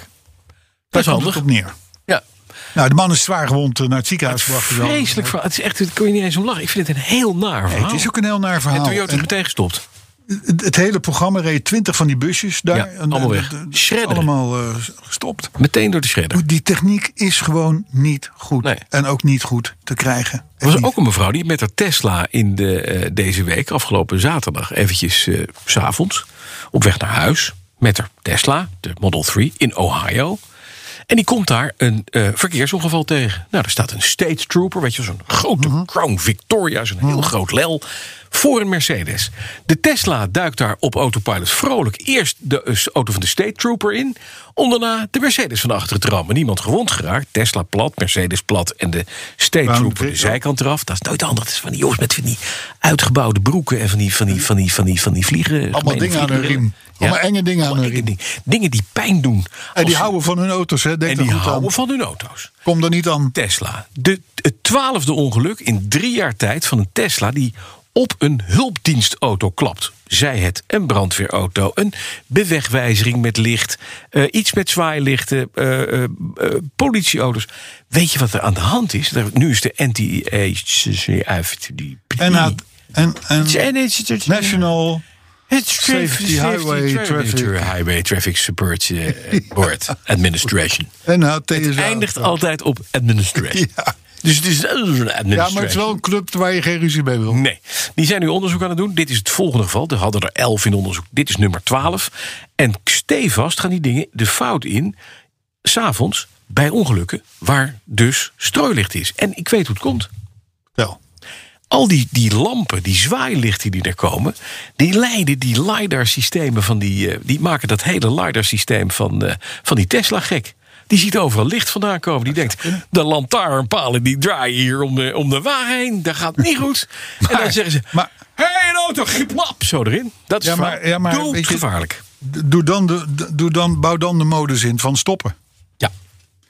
C: Dat is
B: komt
C: handig.
B: het op neer.
C: Ja.
B: Nou, de man is zwaar gewond eh, naar het ziekenhuis gebracht. wel.
C: Vreselijk verhaal. Het is echt, daar kun je niet eens om lachen. Ik vind het een heel naar
B: Nee,
C: verhaal.
B: het is ook een heel naar
C: en
B: verhaal.
C: Toyota is
B: En
C: meteen gestopt.
B: het, het hele programma reed 20 van die busjes daar.
C: Ja,
B: en-
C: allemaal
B: en-
C: weg.
B: en-
C: Shredderen.
B: Allemaal eh, gestopt.
C: Meteen door de shredder. Er
B: Die techniek is gewoon niet goed.
C: Nee.
B: En ook niet goed te krijgen. Echt
C: was
B: niet.
C: ook een mevrouw die met haar Tesla in de, eh, deze week, afgelopen zaterdag, eventjes eh, s s'avonds, op weg naar huis, met haar Tesla, de Model 3, in Ohio. En die komt daar een eh, verkeersongeval tegen. Nou, er staat een state trooper, weet je, wel, zo'n grote Crown Victoria, zo'n heel groot lel, voor een Mercedes. De Tesla duikt daar op autopilot vrolijk eerst de eh, auto van de state trooper in, om daarna de Mercedes van achter te rammen. Niemand gewond geraakt, Tesla plat, Mercedes plat en de state
B: Crown
C: trooper de
B: Victoria.
C: zijkant eraf. Dat is nooit handig. Dat is van die jongens met van die uitgebouwde broeken en van die, van die, van die, van die, van die vliegen. gemene
B: dingen aan hun
C: vliegenbrillen.
B: riem. Allemaal enge dingen aan
C: allemaal
B: hun
C: enge dingen. Dingen die pijn doen.
B: En
C: Als
B: die
C: ze-
B: houden van hun auto's, hè? Denk
C: en
B: er
C: die
B: goed aan.
C: houden van hun auto's.
B: Kom er niet aan.
C: Tesla. De, het twaalfde ongeluk in drie jaar tijd van een Tesla die op een hulpdienstauto klapt. Zij het een brandweerauto, een bewegwijzering met licht, eh, iets met zwaailichten, eh, eh, eh, politieauto's. Weet je wat er aan de hand is? Er- Nu is de NTHCFD.
B: En, na- en, en National.
C: Het
B: Safety Highway Traffic-
C: Highway Traffic Support eh,
B: (laughs)
C: Board Administration. Het
B: NHTSA.
C: eindigt altijd op administration.
B: (laughs) Ja.
C: Dus het is een
B: Ja, maar het is wel een club waar je geen ruzie mee wil.
C: Nee, die zijn nu onderzoek aan het doen. Dit is het volgende geval. Er hadden er elf in onderzoek. Dit is nummer 12. En stevast gaan die dingen de fout in. S'avonds bij ongelukken waar dus strooilicht is. En ik weet hoe het komt.
B: Wel.
C: Al die, die lampen, die zwaailichten die er komen, die leiden die LiDAR-systemen van die. eh, die maken dat hele LiDAR-systeem van, eh, van die Tesla gek. Die ziet overal licht vandaan komen. Die denkt, de lantaarnpalen die draaien hier om de, om de wagen heen. Dat gaat
B: (laughs)
C: niet goed. en dan zeggen ze,
B: maar-
C: hé, een auto, plap, zo erin. Dat is
B: Ja, maar-
C: maar,
B: ja, maar weet je-
C: gevaarlijk.
B: Doe dan de, doe dan, bouw dan de modus in van stoppen.
C: Ja,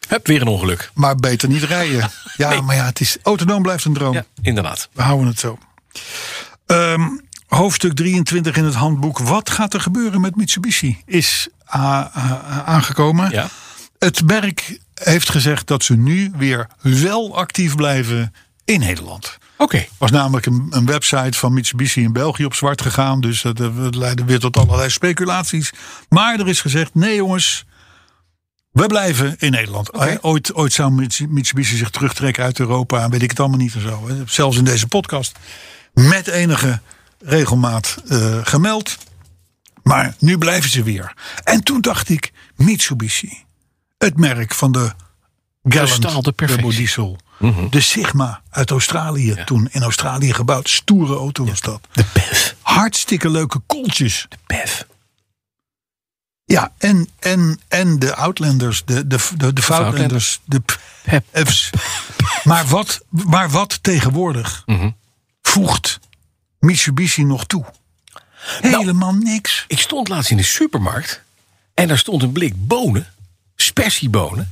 C: heb weer een ongeluk.
B: Maar beter niet rijden. Ja,
C: (laughs) Nee.
B: maar ja, het is, autonoom blijft een droom.
C: Ja, inderdaad.
B: We houden het zo. Ehm, hoofdstuk 23 in het handboek. Wat gaat er gebeuren met Mitsubishi? Is a- a- aangekomen.
C: Ja.
B: Het merk heeft gezegd dat ze nu weer wel actief blijven in Nederland.
C: Oké.
B: Er was namelijk een, een website van Mitsubishi in België op zwart gegaan. Dus dat, eh, dat leidde weer tot allerlei speculaties. Maar er is gezegd, nee jongens, we blijven in Nederland. Eh, Ooit, ooit zou Mits- Mitsubishi zich terugtrekken uit Europa. En weet ik het allemaal niet en zo. hè. Zelfs in deze podcast. Met enige regelmaat eh, gemeld. Maar nu blijven ze weer. En toen dacht ik, Mitsubishi. Het merk van de
C: staal de
B: Gallant
C: perfectie.
B: turbodiesel. De Sigma uit Australië, toen in Australië gebouwd. Stoere auto was dat.
C: De PEF.
B: Hartstikke leuke kooltjes.
C: PEF.
B: Ja, en, en, en de Outlanders, de, de, de, de Foutlanders, de
C: Pep.
B: F's. Maar wat, maar wat tegenwoordig
C: Mhm.
B: voegt Mitsubishi nog toe?
C: Nou,
B: Helemaal niks.
C: Ik stond laatst in de supermarkt en daar stond een blik bonen, spersiebonen,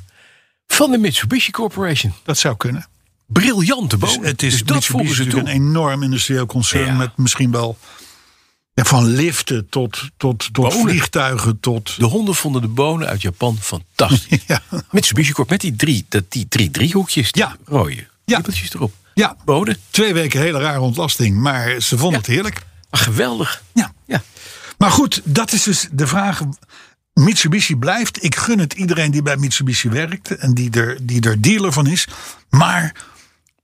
C: van de Mitsubishi Corporation.
B: Dat zou kunnen.
C: Briljante
B: Dus
C: bonen.
B: het is
C: dus dat
B: Mitsubishi
C: voegen
B: is
C: ze toe.
B: natuurlijk een enorm industrieel concern
C: Ja.
B: met misschien wel ja, van liften tot, tot, tot
C: Bonen.
B: vliegtuigen tot. (laughs)
C: De honden vonden de bonen uit Japan fantastisch.
B: Ja.
C: Mitsubishi Corp met die drie, dat, die drie driehoekjes, die
B: Ja.
C: rode
B: Ja.
C: ribbeltjes erop.
B: Ja,
C: Bonen.
B: twee weken hele rare ontlasting, maar ze vonden
C: Ja.
B: het heerlijk.
C: Ah, geweldig.
B: Ja.
C: Ja.
B: Maar goed, dat is dus de vraag. Mitsubishi blijft. Ik gun het iedereen die bij Mitsubishi werkt en die er, die er dealer van is. Maar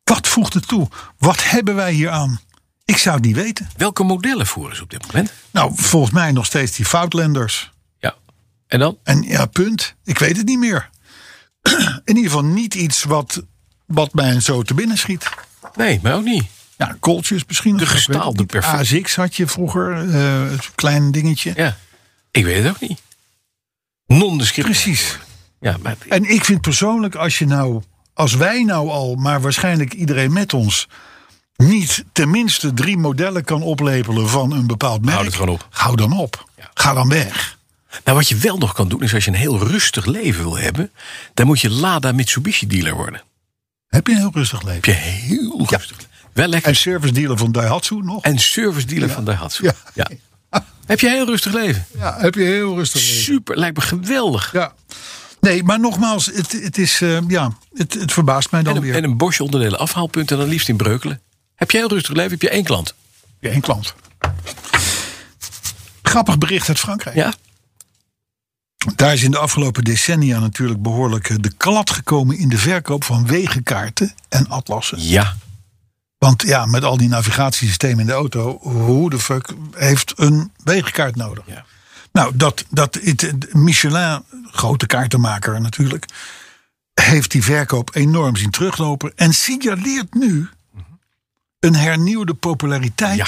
B: wat voegt het toe? Wat hebben wij hier aan? Ik zou het niet weten.
C: Welke modellen voeren ze op dit moment?
B: Nou, volgens mij nog steeds die Foutlanders.
C: Ja. En dan?
B: En ja, punt. Ik weet het niet meer. In ieder geval niet iets wat, wat mij zo te binnen schiet.
C: Nee, maar ook niet.
B: Ja, kooltjes misschien.
C: De gestaalde perfect.
B: ASX had je vroeger, eh, een klein dingetje.
C: Ja. Ik weet het ook niet. Non-descript.
B: Precies.
C: Ja, maar
B: En ik vind persoonlijk, als je nou, als wij nou al, maar waarschijnlijk iedereen met ons, niet tenminste drie modellen kan oplepelen van een bepaald merk.
C: het gewoon op.
B: Hou dan op.
C: Ja.
B: Ga dan weg.
C: Nou, wat je wel nog kan doen, is als je een heel rustig leven wil hebben, dan moet je Lada Mitsubishi dealer worden.
B: Heb je een heel rustig leven.
C: Heb je heel rustig. Wel lekker.
B: En service dealer van Daihatsu nog?
C: En service dealer van Daihatsu.
B: Ja. (laughs)
C: Heb je een heel rustig leven.
B: Ja, heb je een heel rustig
C: Super, lijkt me geweldig.
B: Ja. Nee, maar nogmaals, het, het is, eh, ja, het, het verbaast mij dan
C: en, een,
B: weer.
C: en een Bosch onderdelen afhaalpunt en dan liefst in Breukelen. Heb je een heel rustig leven, heb je één klant.
B: Ja, één klant. Grappig bericht uit Frankrijk.
C: Ja?
B: Daar is in de afgelopen decennia natuurlijk behoorlijk eh, de klad gekomen in de verkoop van wegenkaarten en atlassen.
C: Ja.
B: Want ja, met al die navigatiesystemen in de auto, hoe de fuck heeft een wegenkaart nodig?
C: Ja.
B: Nou, dat, dat het, Michelin, grote kaartenmaker natuurlijk, heeft die verkoop enorm zien teruglopen en signaleert nu een hernieuwde populariteit
C: Ja.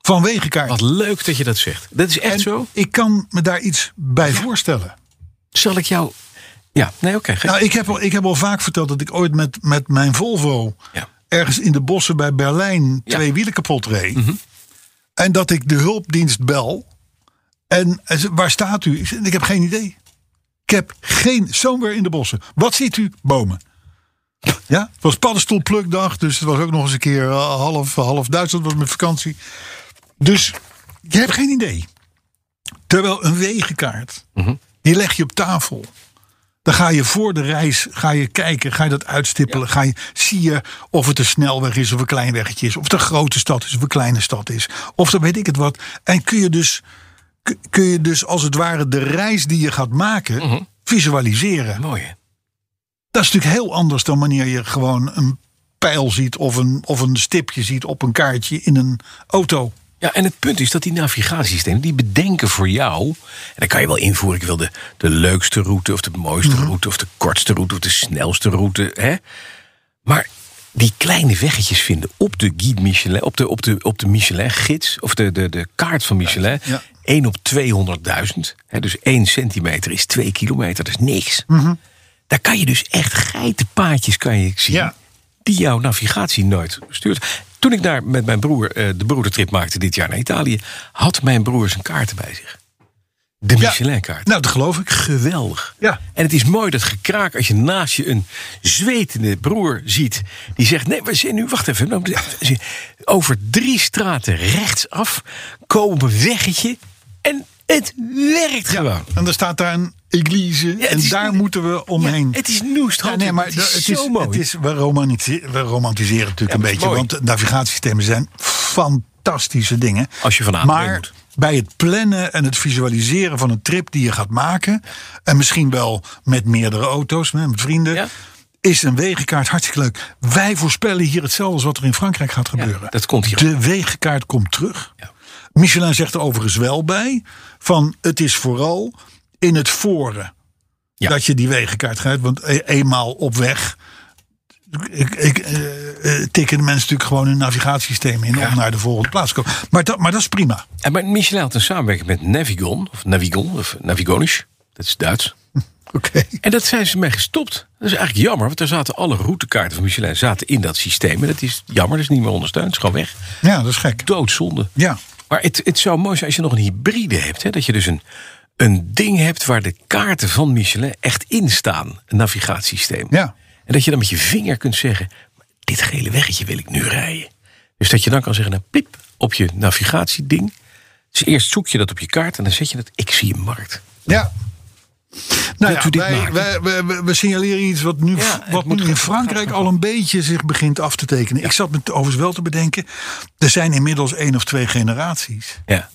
B: van wegenkaarten.
C: Wat leuk dat je dat zegt. Dat is echt
B: En
C: zo.
B: Ik kan me daar iets bij voorstellen.
C: Zal ik jou. Ja, nee, oké. ge-
B: Nou, ik heb, al, ik heb al vaak verteld dat ik ooit met, met mijn Volvo
C: Ja.
B: ergens in de bossen bij Berlijn
C: Ja. Mhm.
B: twee wielen kapot reed. En dat ik de hulpdienst bel. En en ze- waar staat u? Ik, zeg, ik heb geen idee. Ik heb geen somewhere in de bossen. Wat ziet u? Bomen. Ja, het was paddenstoelplukdag, dus het was ook nog eens een keer eh, half, half Duitsland was met vakantie. Dus je hebt geen idee. Terwijl een wegenkaart, die leg je op tafel. Dan ga je voor de reis ga je kijken, ga je dat uitstippelen. Ga je, zie je of het een snelweg is of een klein weggetje is. Of het een grote stad is of een kleine stad is. Of dan weet ik het wat. En kun je dus, kun- kun je dus als het ware de reis die je gaat maken visualiseren.
C: Mooi. hè?
B: Dat is natuurlijk heel anders dan wanneer je gewoon een pijl ziet of een, of een stipje ziet op een kaartje in een auto.
C: Ja, en het punt is dat die navigatiesystemen, die bedenken voor jou... en dan kan je wel invoeren, ik wil de, de leukste route... of de mooiste route, of de kortste route, of de snelste route. Hè? Maar die kleine weggetjes vinden op de Guide Michelin, op de, op de, op de Michelin-gids, of de, de, de kaart van Michelin.
B: Ja.
C: 1 op 200.000. hè, Dus 1 centimeter is 2 kilometer, dat is niks. Daar kan je dus echt geitenpaadjes kan je zien.
B: Ja.
C: Die jouw navigatie nooit stuurt. Toen ik daar met mijn broer eh, de broedertrip maakte dit jaar naar Italië, had mijn broer zijn kaarten bij zich. De
B: Ja.
C: Michelin-kaart.
B: Nou, dat geloof ik.
C: Geweldig.
B: Ja.
C: En het is mooi dat gekraak als je naast je een zwetende broer ziet. Die zegt, nee, we zijn nu, wacht even. nou, Over drie straten rechtsaf komen we een weggetje. En het werkt gewoon.
B: En er staat daar een eglise.
C: Ja,
B: en
C: het is-
B: daar moeten we omheen.
C: Ja, het is noestrat.
B: Ja, nee, maar
C: het is
B: het
C: zo
B: is,
C: mooi.
B: Het is, we, romantiseren, we romantiseren natuurlijk een
C: maar het is
B: beetje.
C: mooi.
B: Want de navigatiesystemen zijn fantastische dingen.
C: Als je van A naar B
B: Maar
C: moet.
B: bij het plannen en het visualiseren van een trip die je gaat maken. En misschien wel met meerdere auto's, hè, met vrienden.
C: Ja.
B: Is een wegenkaart hartstikke leuk. Wij voorspellen hier hetzelfde als wat er in Frankrijk gaat gebeuren.
C: dat komt hier
B: De wegenkaart komt terug. Michelin zegt er overigens wel bij. Van het is vooral in het voren
C: Ja.
B: dat je die wegenkaart gaat. Want e- eenmaal op weg ik, ik, eh, eh, tikken de mensen natuurlijk gewoon hun navigatiesysteem in om naar de volgende plaats te komen. Maar dat, maar dat is prima.
C: En maar Michelin had een samenwerking met Navigon. Of Navigon, of Navigonisch. Dat is Duits.
B: Oké.
C: En dat zijn ze mee gestopt. Dat is eigenlijk jammer, want daar zaten alle routekaarten van Michelin zaten in dat systeem. En dat is jammer, dat is niet meer ondersteund. Het is gewoon weg.
B: Ja, dat is gek.
C: Doodzonde.
B: Ja.
C: Maar het, het zou mooi zijn als je nog een hybride hebt. Hè? Dat je dus een, een ding hebt waar de kaarten van Michelin echt in staan. Een navigatiesysteem.
B: Ja.
C: En dat je dan met je vinger kunt zeggen... dit gele weggetje wil ik nu rijden. Dus dat je dan kan zeggen, nou, pliep, op je navigatieding. Dus eerst zoek je dat op je kaart en dan zet je dat... ik zie een markt.
B: Ja. Nou
C: Wilt u dit
B: wij,
C: maken?
B: wij, wij- wij- we signaleren iets wat nu,
C: Ja, het
B: wat
C: moet
B: nu
C: gaan-
B: in Frankrijk al een beetje zich begint af te tekenen. Ik zat me overigens wel te bedenken. Er zijn inmiddels één of twee generaties.
C: Ja.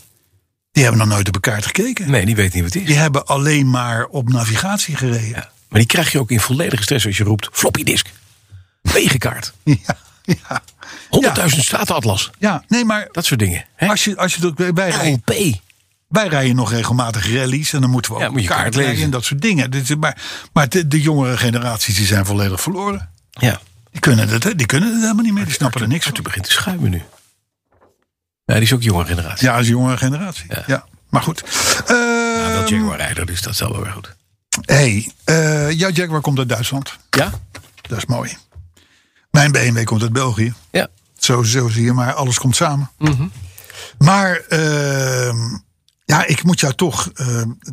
B: Die hebben nog nooit op een kaart gekeken.
C: Nee, die weet niet wat het is.
B: Die hebben alleen maar op navigatie gereden.
C: Ja. Maar die krijg je ook in volledige stress als je roept... floppy disk, wegenkaart, 100.000
B: (laughs) Ja, ja.
C: statenatlas.
B: ja. nee, maar
C: Dat soort dingen. Hè?
B: als je, als je dat, wij, rijden,
C: LP.
B: wij rijden nog regelmatig rallies en dan moeten we ook
C: Ja, moet je
B: op
C: kaart
B: rijden
C: lezen.
B: en dat soort dingen. Dit is- Maar, maar de, de jongere generaties die zijn volledig verloren.
C: Ja.
B: Die kunnen dat, hè, die kunnen dat helemaal niet meer. Die snappen er niks
C: Arthur
B: van.
C: begint te schuimen nu. Ja, die is ook jonge generatie.
B: Ja, als jongere generatie. Ja. Maar goed.
C: Ja, wel
B: Ehm,
C: Jaguar-rijder, dus dat zal wel weer goed.
B: hey, eh, jouw Jaguar komt uit Duitsland.
C: Ja?
B: Dat is mooi. Mijn BMW komt uit België.
C: Ja.
B: Zo, zo zie je maar, alles komt samen. Maar ehm, ja, ik moet jou toch ehm,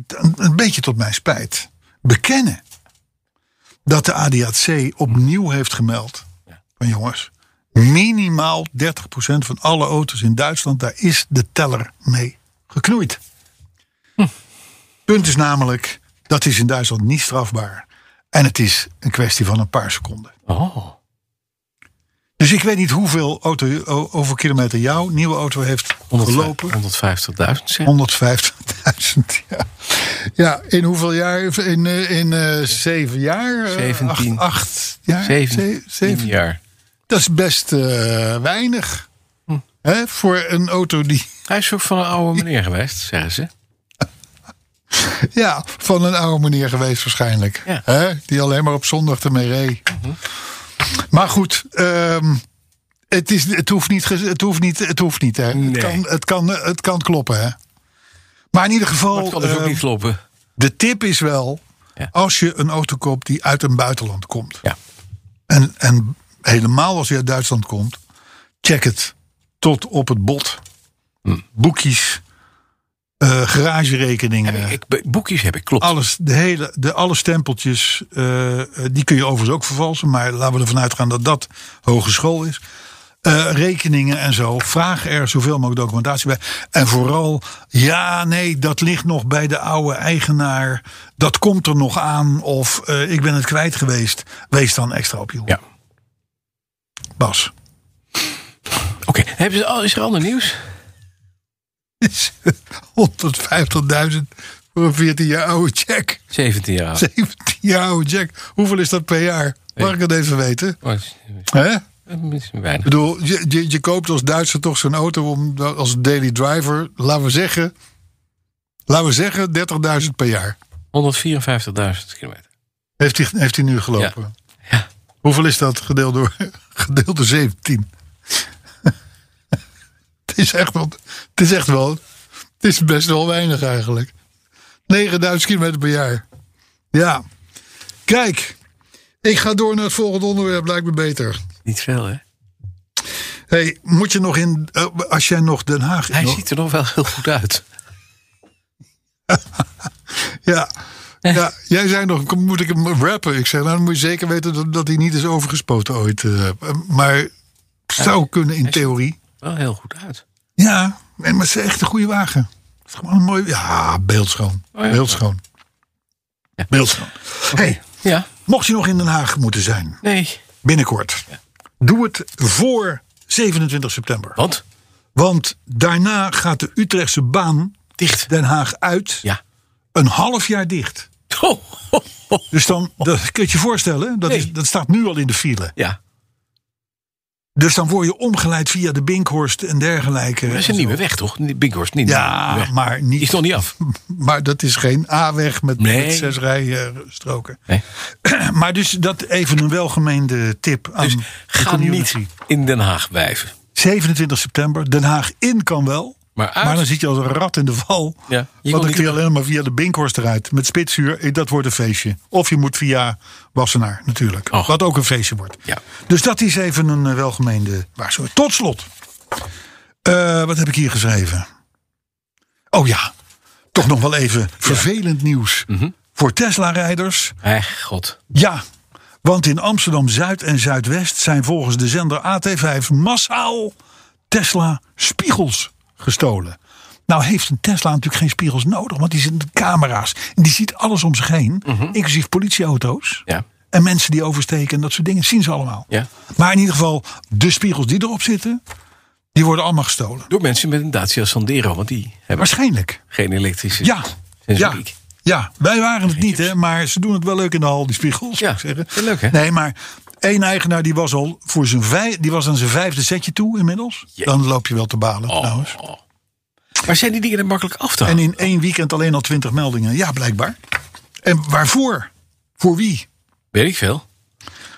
B: een, een beetje tot mijn spijt bekennen dat de ADAC opnieuw heeft gemeld van jongens, minimaal 30% van alle auto's in Duitsland, daar is de teller mee geknoeid. Punt is namelijk, dat is in Duitsland niet strafbaar. En het is een kwestie van een paar seconden.
C: Oh.
B: Dus ik weet niet hoeveel auto, o- over kilometer jouw nieuwe auto heeft
C: 150
B: gelopen.
C: 150.000 zeg.
B: 150.000, ja. Ja, in hoeveel jaar? In, eh, in eh, zeven jaar? eh,
C: 17.
B: Acht, acht jaar? Ze-
C: 7,
B: zeven.
C: jaar.
B: Dat is best eh, weinig. Hè, voor een auto die
C: Hij is ook van een oude meneer geweest, zeggen ze.
B: ja, van een oude meneer geweest waarschijnlijk.
C: Ja. Mhm.
B: Hè, die alleen maar op zondag ermee reed. Maar goed, ehm, het, is, het hoeft niet. gez- Het hoeft niet, het hoeft niet hè.
C: Nee.
B: Het, kan, het, kan, het kan kloppen. Hè. Maar in ieder
C: Maar
B: geval,
C: het kan dus ook
B: ehm,
C: niet kloppen.
B: de tip is wel...
C: Ja.
B: als je een auto koopt die uit een buitenland komt...
C: Ja.
B: En, en helemaal als je uit Duitsland komt, check het tot op het bot.
C: Hm.
B: Boekjes, eh, garagerekeningen,
C: Ik, be- boekjes heb ik, klopt.
B: alles, de hele, de, alle stempeltjes, eh, eh, die kun je overigens ook vervalsen, maar laten we ervan uitgaan dat dat hogeschool is. Eh, rekeningen en zo. Vraag er zoveel mogelijk documentatie bij. En vooral, ja, nee, dat ligt nog bij de oude eigenaar. Dat komt er nog aan. Of eh, ik ben het kwijt geweest. Wees dan extra op je hoede.
C: Ja.
B: Bas.
C: Oké, hebben ze al, is er ander nieuws?
B: (laughs) 150.000 voor een 14 jaar oude check. (laughs)
C: 17 jaar oud.
B: 17 jaar oude check. Hoeveel is dat per jaar? Mag ik dat even weten?
C: Oh, het is-
B: Hè?
C: het is
B: Ik
C: Weinig.
B: bedoel, je, je, je koopt als Duitser toch zo'n auto om, als daily driver, laten we zeggen, laten we zeggen 30.000 per jaar.
C: 154.000 kilometer.
B: Heeft hij heeft hij nu gelopen?
C: Ja.
B: Hoeveel is dat gedeeld door, (laughs) gedeeld door 17. (laughs) het, is echt, wel- het is echt wel. Het is best wel weinig eigenlijk. 9000 kilometer per jaar. Ja. Kijk. Ik ga door naar het volgende onderwerp. Lijkt me beter.
C: Niet veel, hè?
B: hey, moet je nog in. eh, als jij nog Den Haag.
C: Hij
B: nog-
C: ziet er nog wel heel goed uit. (laughs)
B: Ja. ja. Jij zei nog, moet ik hem rappen? Ik zei, nou dan moet je zeker weten dat, dat hij niet is overgespoten ooit. eh, maar het zou kunnen in theorie.
C: Wel heel goed uit.
B: Ja, nee, maar het is echt een goede wagen. Het is gewoon een mooi... Ja, beeldschoon.
C: Oh ja.
B: Beeldschoon. Beeldschoon. hey,
C: Ja,
B: mocht je nog in Den Haag moeten zijn,
C: nee.
B: binnenkort. Doe het voor 27 september.
C: Want?
B: Want daarna gaat de Utrechtse baan
C: Dicht.
B: Den Haag uit.
C: Ja.
B: Een half jaar dicht.
C: Oh, ho, ho.
B: Dus dan, dat kun je je voorstellen, dat, is,
C: Oh. Nee.
B: dat staat nu al in de file.
C: (laughs) Ja,
B: Dus dan word je omgeleid via de Binkhorst en dergelijke.
C: dat is een nieuwe weg, toch? Binkhorst, niet
B: Ja,
C: weg.
B: maar niet.
C: Is nog niet af.
B: Maar dat is geen A-weg met,
C: Nee.
B: met zes rijen eh, stroken.
C: Nee.
B: (clears throat) Maar dus dat even een welgemeende tip aan
C: Dus
B: de
C: ga
B: community.
C: niet in Den Haag wijven.
B: 27 september, Den Haag in kan wel.
C: Maar uit?
B: dan zit je als een rat in de val.
C: je kon
B: want dan
C: niet
B: kun je alleen maar via de Binkhorst eruit. Met spitsuur, eh, dat wordt een feestje. Of je moet via Wassenaar natuurlijk.
C: Och.
B: Wat ook een feestje wordt.
C: Ja.
B: Dus dat is even een eh, welgemeende waarschuwing. Tot slot. Eh, wat heb ik hier geschreven? Oh ja, toch nog wel even vervelend nieuws.
C: Mhm.
B: Voor Tesla-rijders.
C: Hé, god.
B: Ja, want in Amsterdam-Zuid en Zuidwest zijn volgens de zender AT5 massaal Tesla-spiegels gestolen. Nou heeft een Tesla natuurlijk geen spiegels nodig, want die zit met camera's. En die ziet alles om zich heen, inclusief politieauto's.
C: Mhm. Ja.
B: En mensen die oversteken en dat soort dingen, zien ze allemaal.
C: Ja.
B: Maar in ieder geval, de spiegels die erop zitten, die worden allemaal gestolen.
C: Door mensen met een Dacia Sandero, want die hebben
B: Waarschijnlijk.
C: geen elektrische
B: Ja. Ja.
C: sensoriek.
B: ja, wij waren het niet, hè, maar ze doen het wel leuk in de hal, die spiegels.
C: Ja,
B: moet ik zeggen.
C: heel leuk, hè?
B: Nee, maar één eigenaar die was al voor zijn vijf, die was aan zijn vijfde setje toe inmiddels. Dan loop je wel te balen,
C: Oh.
B: trouwens.
C: Maar zijn die dingen er makkelijk af te
B: En
C: halen?
B: in één weekend alleen al twintig meldingen. Ja, blijkbaar. En waarvoor? Voor wie?
C: Weet ik veel.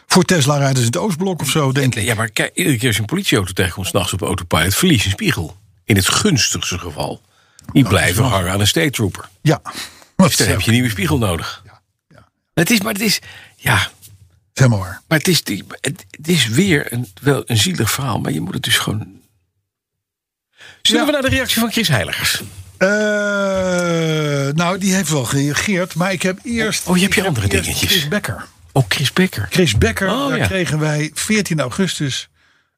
B: Voor Tesla-rijders in het Oostblok of zo, denk ik.
C: Ja, maar kijk, iedere keer als je een politieauto tegenkomt... s'nachts op autopilot, verlies je een spiegel. In het gunstigste geval. Die blijven hangen aan een state trooper.
B: Ja. Wat
C: Dus dan heb je een nieuwe spiegel nodig. Het is, maar het is... Ja,
B: Zeg maar waar.
C: maar het is, die- het, het is weer een, wel een zielig verhaal. Maar je moet het dus gewoon... Zullen
B: Ja.
C: we naar de reactie van Chris Heiligers?
B: Eh, nou, die heeft wel gereageerd, maar ik heb eerst...
C: Oh, je hebt je
B: ik heb
C: andere
B: eerst
C: dingetjes.
B: Chris Becker.
C: Ook Oh, Chris Becker.
B: Chris Becker,
C: Oh,
B: daar
C: ja.
B: kregen wij 14 augustus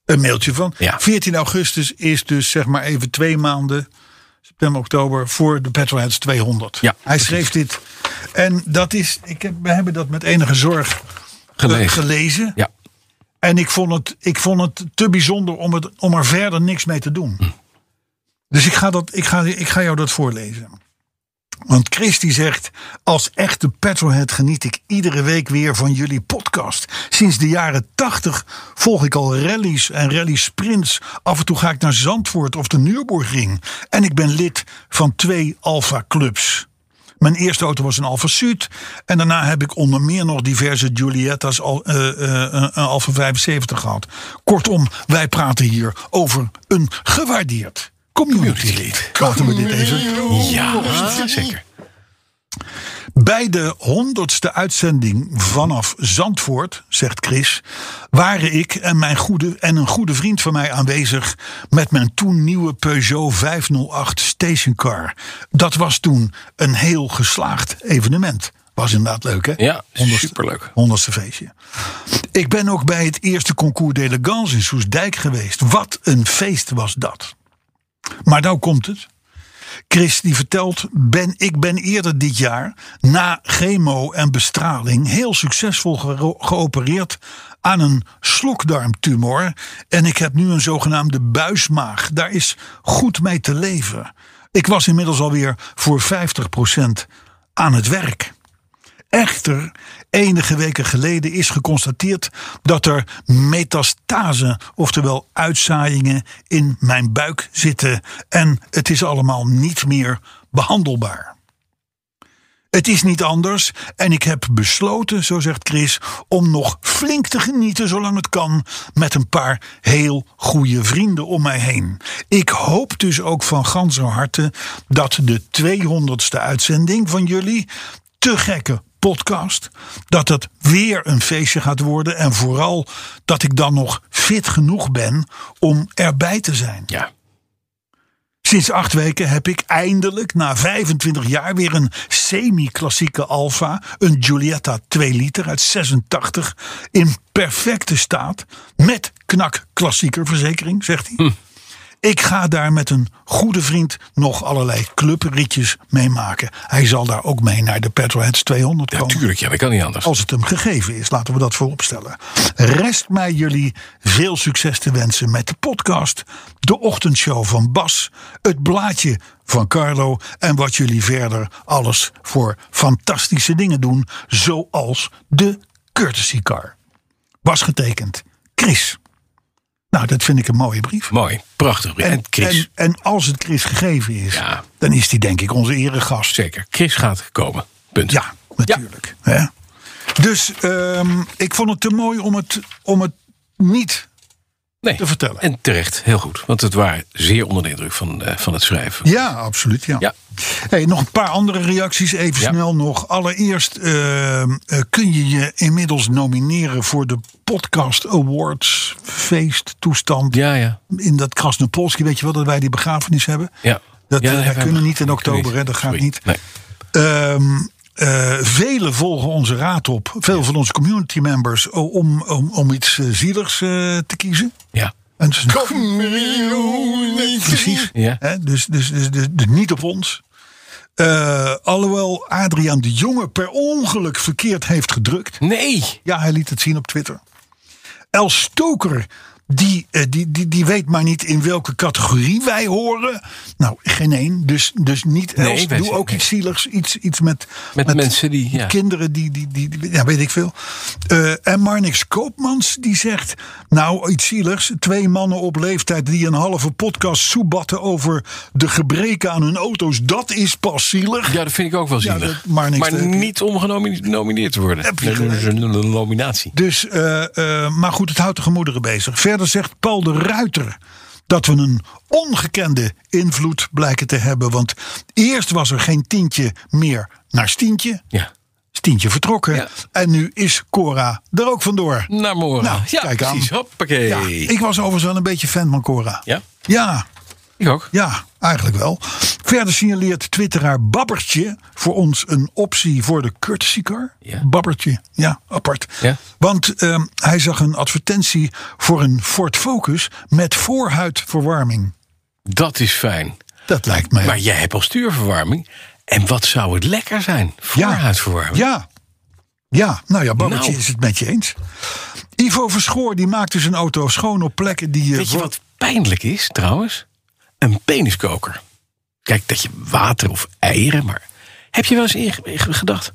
B: een mailtje van.
C: Ja.
B: 14 augustus is dus zeg maar even twee maanden, september, oktober, voor de Petrolheads 200.
C: Ja,
B: Hij schreef dit. En dat is, ik heb, we hebben dat met enige zorg eh,
C: Gelezen.
B: gelezen.
C: Ja.
B: En ik vond het, ik vond het te bijzonder om, het, om er verder niks mee te doen.
C: Hm.
B: Dus ik ga, dat, ik, ga, ik ga jou dat voorlezen. Want Chris die zegt, als echte petrolhead geniet ik iedere week weer van jullie podcast. Sinds de jaren tachtig volg ik al rallies en rally sprints. Af en toe ga ik naar Zandvoort of de Nürburgring. En ik ben lid van twee Alfa clubs. Mijn eerste auto was een Alfa Sud. En daarna heb ik onder meer nog diverse Giulietta's al, eh, eh, een Alfa 75 gehad. Kortom, wij praten hier over een gewaardeerd community lead. Laten we dit even
C: Ja, zeker.
B: bij de honderdste uitzending vanaf Zandvoort, zegt Chris, waren ik en, mijn goede, en een goede vriend van mij aanwezig met mijn toen nieuwe Peugeot 508 stationcar. Dat was toen een heel geslaagd evenement. Was inderdaad leuk, hè?
C: Ja,
B: Honderdste-
C: superleuk.
B: Honderdste feestje. Ik ben ook bij het eerste concours d'élégance in Soesdijk geweest. Wat een feest was dat. Maar nou komt het. Chris die vertelt, ben, ik ben eerder dit jaar na chemo en bestraling heel succesvol gero- geopereerd aan een slokdarmtumor. En ik heb nu een zogenaamde buismaag. Daar is goed mee te leven. Ik was inmiddels alweer voor 50% aan het werk. Echter, enige weken geleden is geconstateerd dat er metastasen, oftewel uitzaaiingen, in mijn buik zitten. En het is allemaal niet meer behandelbaar. Het is niet anders. En ik heb besloten, zo zegt Chris, om nog flink te genieten zolang het kan. Met een paar heel goede vrienden om mij heen. Ik hoop dus ook van ganser harte dat de 200ste uitzending van jullie te gekke podcast. Dat het weer een feestje gaat worden. En vooral dat ik dan nog fit genoeg ben om erbij te zijn.
C: Ja.
B: Sinds acht weken heb ik eindelijk na 25 jaar weer een semi-klassieke Alfa, een Giulietta 2 liter uit 86, in perfecte staat, met knak klassieker verzekering, zegt hij. Ik ga daar met een goede vriend nog allerlei clubritjes mee maken. Hij zal daar ook mee naar de Petrolheads 200 komen.
C: Natuurlijk, ja, dat kan niet anders.
B: Als het hem gegeven is, laten we dat vooropstellen. Rest mij jullie veel succes te wensen met de podcast, de ochtendshow van Bas, het blaadje van Carlo en wat jullie verder alles voor fantastische dingen doen, zoals de courtesy car. Was getekend Chris. Nou, dat vind ik een mooie brief.
C: Mooi, prachtig. En, Chris,
B: en, en als het Chris gegeven is,
C: Ja.
B: dan is die denk ik onze eregast.
C: zeker. Chris gaat komen. Punt.
B: Ja, natuurlijk. Hè? Dus ehm, ik vond het te mooi om het, om het niet.
C: nee.
B: te vertellen.
C: En terecht, heel goed. Want het waren zeer onder de indruk van, eh, van het schrijven.
B: Ja, absoluut. Ja.
C: Ja.
B: Hey, nog een paar andere reacties, even
C: Ja.
B: snel nog. Allereerst ehm, eh, kun je je inmiddels nomineren voor de Podcast Awards feesttoestand.
C: Ja, ja.
B: In dat Krasnopolski, weet je wel dat wij die begrafenis hebben?
C: ja.
B: Dat,
C: ja,
B: eh, wij
C: hebben
B: kunnen
C: we-
B: niet in
C: we
B: oktober,
C: niet.
B: hè, dat gaat
C: Sorry.
B: niet.
C: Nee.
B: Ehm eh, velen volgen onze raad op, veel van onze community members, o- om, om, om iets eh, zieligs eh, te kiezen.
C: Ja.
B: En het is een- Precies.
C: Ja.
B: Hè, dus, dus, dus, dus, dus niet op ons. Eh, alhoewel Adriaan de Jonge per ongeluk verkeerd heeft gedrukt.
C: Nee.
B: Ja, hij liet het zien op Twitter. El Stoker, die, eh, die, die, die weet maar niet in welke categorie wij horen. Nou, geen één. Dus, dus niet
C: Nee,
B: Els.
C: wij
B: Doe
C: zijn-
B: ook iets zieligs. Iets, iets met,
C: Met mensen die, ja.
B: Kinderen die, die, die, die- ja, weet ik veel. Eh, en Marnix Koopmans, die zegt... Nou, iets zieligs. Twee mannen op leeftijd die een halve podcast soebatten... over de gebreken aan hun auto's. Dat is pas zielig.
C: Ja, dat vind ik ook wel
B: Ja,
C: zielig.
B: dat- maar niks te-
C: niet om genomineerd te worden.
B: Heb je
C: Nee, dat is een nominatie.
B: Dus, eh, eh, maar goed, het houdt de gemoederen bezig. Verder zegt Paul de Ruiter dat we een ongekende invloed blijken te hebben. Want eerst was er geen tientje meer naar Stientje.
C: Ja.
B: Stientje vertrokken.
C: Ja.
B: En nu is Cora er ook vandoor.
C: Naar morgen.
B: Nou,
C: ja,
B: kijk aan.
C: precies. Hoppakee.
B: Ja, ik was overigens wel een beetje fan van Cora.
C: Ja?
B: Ja,
C: Ik ook.
B: ja, eigenlijk wel. Verder signaleert twitteraar Babbertje voor ons een optie voor de courtesy car.
C: Ja.
B: Babbertje, ja, apart.
C: Ja.
B: Want ehm, hij zag een advertentie voor een Ford Focus met voorhuidverwarming.
C: Dat is fijn.
B: Dat lijkt mij.
C: Maar jij hebt al stuurverwarming. En wat zou het lekker zijn? Voorhuidverwarming.
B: Ja. Ja, nou ja, Babbertje
C: Nou.
B: is het met je eens. Ivo Verschoor die maakte zijn auto schoon op plekken die je...
C: Weet je wat pijnlijk is, trouwens? Een peniskoker. Kijk, dat je water of eieren, maar... Heb je wel eens in in gedacht?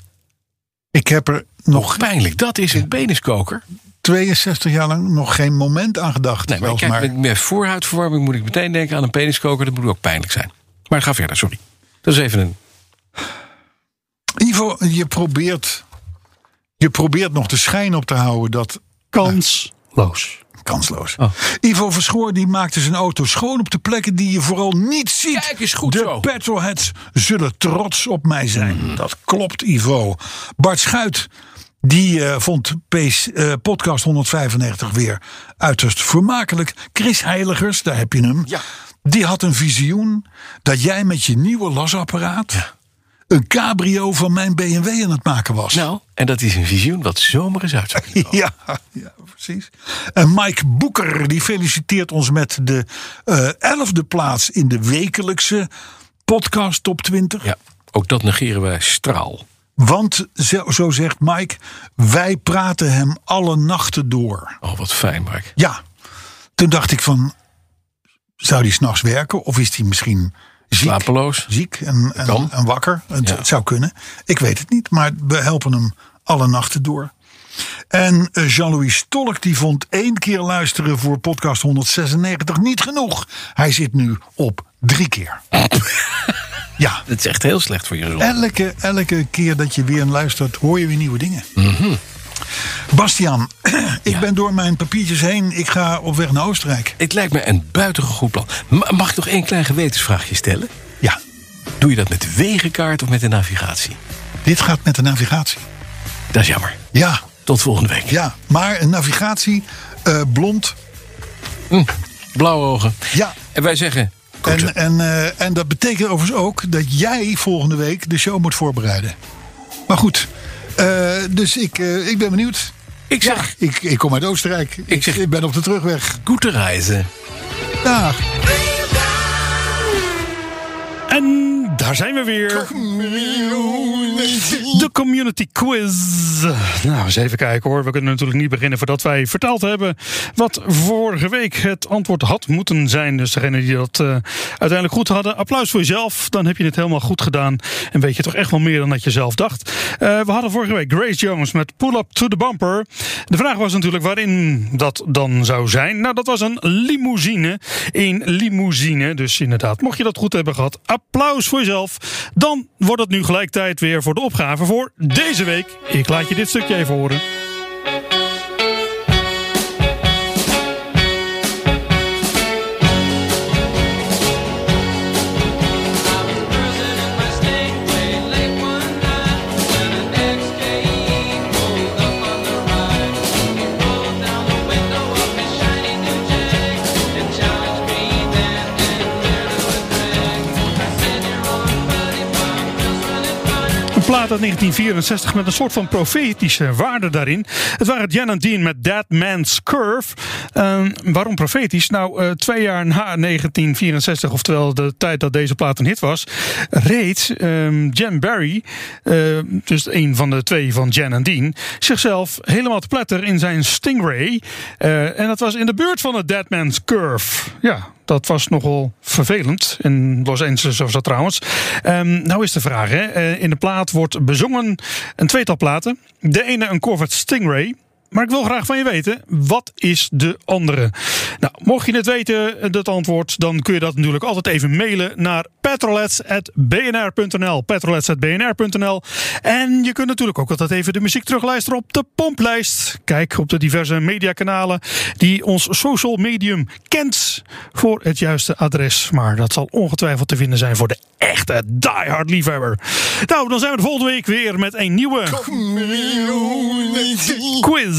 B: Ik heb er nog
C: Pijnlijk, dat is een peniskoker.
B: 62 jaar lang nog geen moment aan gedacht.
C: Nee, maar
B: zelfs
C: kijk,
B: maar-
C: met, met voorhuidverwarming moet ik meteen denken aan een peniskoker. Dat moet ook pijnlijk zijn. Maar ga verder, sorry. Dat is even een...
B: Ivo, je probeert, je probeert nog de schijn op te houden dat
G: Kansloos.
B: kansloos. Ivo Verschoor die maakte zijn auto schoon op de plekken die je vooral niet ziet.
C: Kijk eens goed
B: de
C: zo.
B: petrolheads zullen trots op mij zijn. Dat klopt, Ivo. Bart Schuit die eh, vond PS, eh, podcast 195 weer uiterst vermakelijk. Chris Heiligers, daar heb je hem.
C: Ja.
B: Die had een visioen dat jij met je nieuwe lasapparaat... een cabrio van mijn BMW aan het maken was.
C: Nou, en dat is een visioen wat zomaar is uit.
B: (laughs) Ja, ja, precies. En Mike Boeker die feliciteert ons met de eh, elfde plaats in de wekelijkse podcast top 20.
C: Ja, ook dat negeren wij straal.
B: Want, zo, zo zegt Mike, wij praten hem alle nachten door.
C: Oh, wat fijn, Mark.
B: Ja, toen dacht ik van, zou die s'nachts werken? Of is die misschien ziek?
C: Slapeloos.
B: ziek en, en,
C: kan.
B: en wakker. Het,
C: Ja.
B: het zou kunnen. Ik weet het niet, maar we helpen hem alle nachten door. En eh, Jean-Louis Stolk die vond één keer luisteren voor podcast
C: (laughs)
B: 196 niet genoeg. Hij zit nu op drie keer. Ja.
C: Dat is echt heel slecht voor je gezondheid.
B: Elke, elke keer dat je weer luistert, hoor je weer nieuwe dingen.
C: Mhm.
B: Bastiaan, (clears throat) ik ben door mijn papiertjes heen. Ik ga op weg naar Oostenrijk.
C: Eh. Het lijkt me een buitengewoon goed plan. Ma- Mag ik nog één klein gewetensvraagje stellen?
B: Ja,
C: Doe je dat met de wegenkaart of met de navigatie?
B: dit gaat met de navigatie.
C: Dat is jammer.
B: Ja,
C: Tot volgende week.
B: ja. Maar een navigatie, eh, blond.
C: Blauwe ogen.
B: Ja.
C: En wij zeggen... goed zo.
B: En, en, eh, en dat betekent overigens ook dat jij volgende week de show moet voorbereiden. Maar goed, eh, dus ik, eh, ik ben benieuwd.
C: ik zeg,
B: Ik, ik kom uit Oostenrijk. Ik,
C: zeg-
B: ik ben op de terugweg.
C: goede reizen.
B: Dag.
G: En daar zijn we weer. De community quiz. Nou, eens even kijken hoor. We kunnen natuurlijk niet beginnen voordat wij vertaald hebben wat vorige week het antwoord had moeten zijn. Dus degene die dat eh, uiteindelijk goed hadden, applaus voor jezelf. Dan heb je het helemaal goed gedaan. En weet je toch echt wel meer dan dat je zelf dacht. Eh, we hadden vorige week Grace Jones met Pull Up to the Bumper. De vraag was natuurlijk waarin dat dan zou zijn. Nou, dat was een limousine. Een limousine. Dus inderdaad, mocht je dat goed hebben gehad, applaus voor jezelf. Dan wordt het nu gelijk tijd weer voor de opgave voor deze week. Ik laat je dit stukje even horen. Een plaat uit 1964 met een soort van profetische waarde daarin. Het waren Jan en Dean met That Man's Curve. Ehm, waarom profetisch? Nou, eh, twee jaar na 1964, oftewel de tijd dat deze plaat een hit was, reed ehm Jan Barry, ehm, dus een van de twee van Jan en Dean, zichzelf helemaal te pletter in zijn Stingray. Eh, en dat was in de buurt van de That Man's Curve. Ja, dat was nogal vervelend. In Los Angeles was dat trouwens. Ehm, nou is de vraag. Hè? Eh, in de plaat wordt bezongen een tweetal platen. De ene een cover van Stingray. Maar ik wil graag van je weten, wat is de andere? Nou, mocht je het weten, eh, dat antwoord, dan kun je dat natuurlijk altijd even mailen naar petrolets.bnr.nl. Petrolets.bnr.nl. En je kunt natuurlijk ook altijd even de muziek terugluisteren op de pomplijst. Kijk op de diverse mediakanalen die ons social medium kent voor het juiste adres. Maar dat zal ongetwijfeld te vinden zijn voor de echte diehard liefhebber. Nou, dan zijn we de volgende week weer met een nieuwe quiz.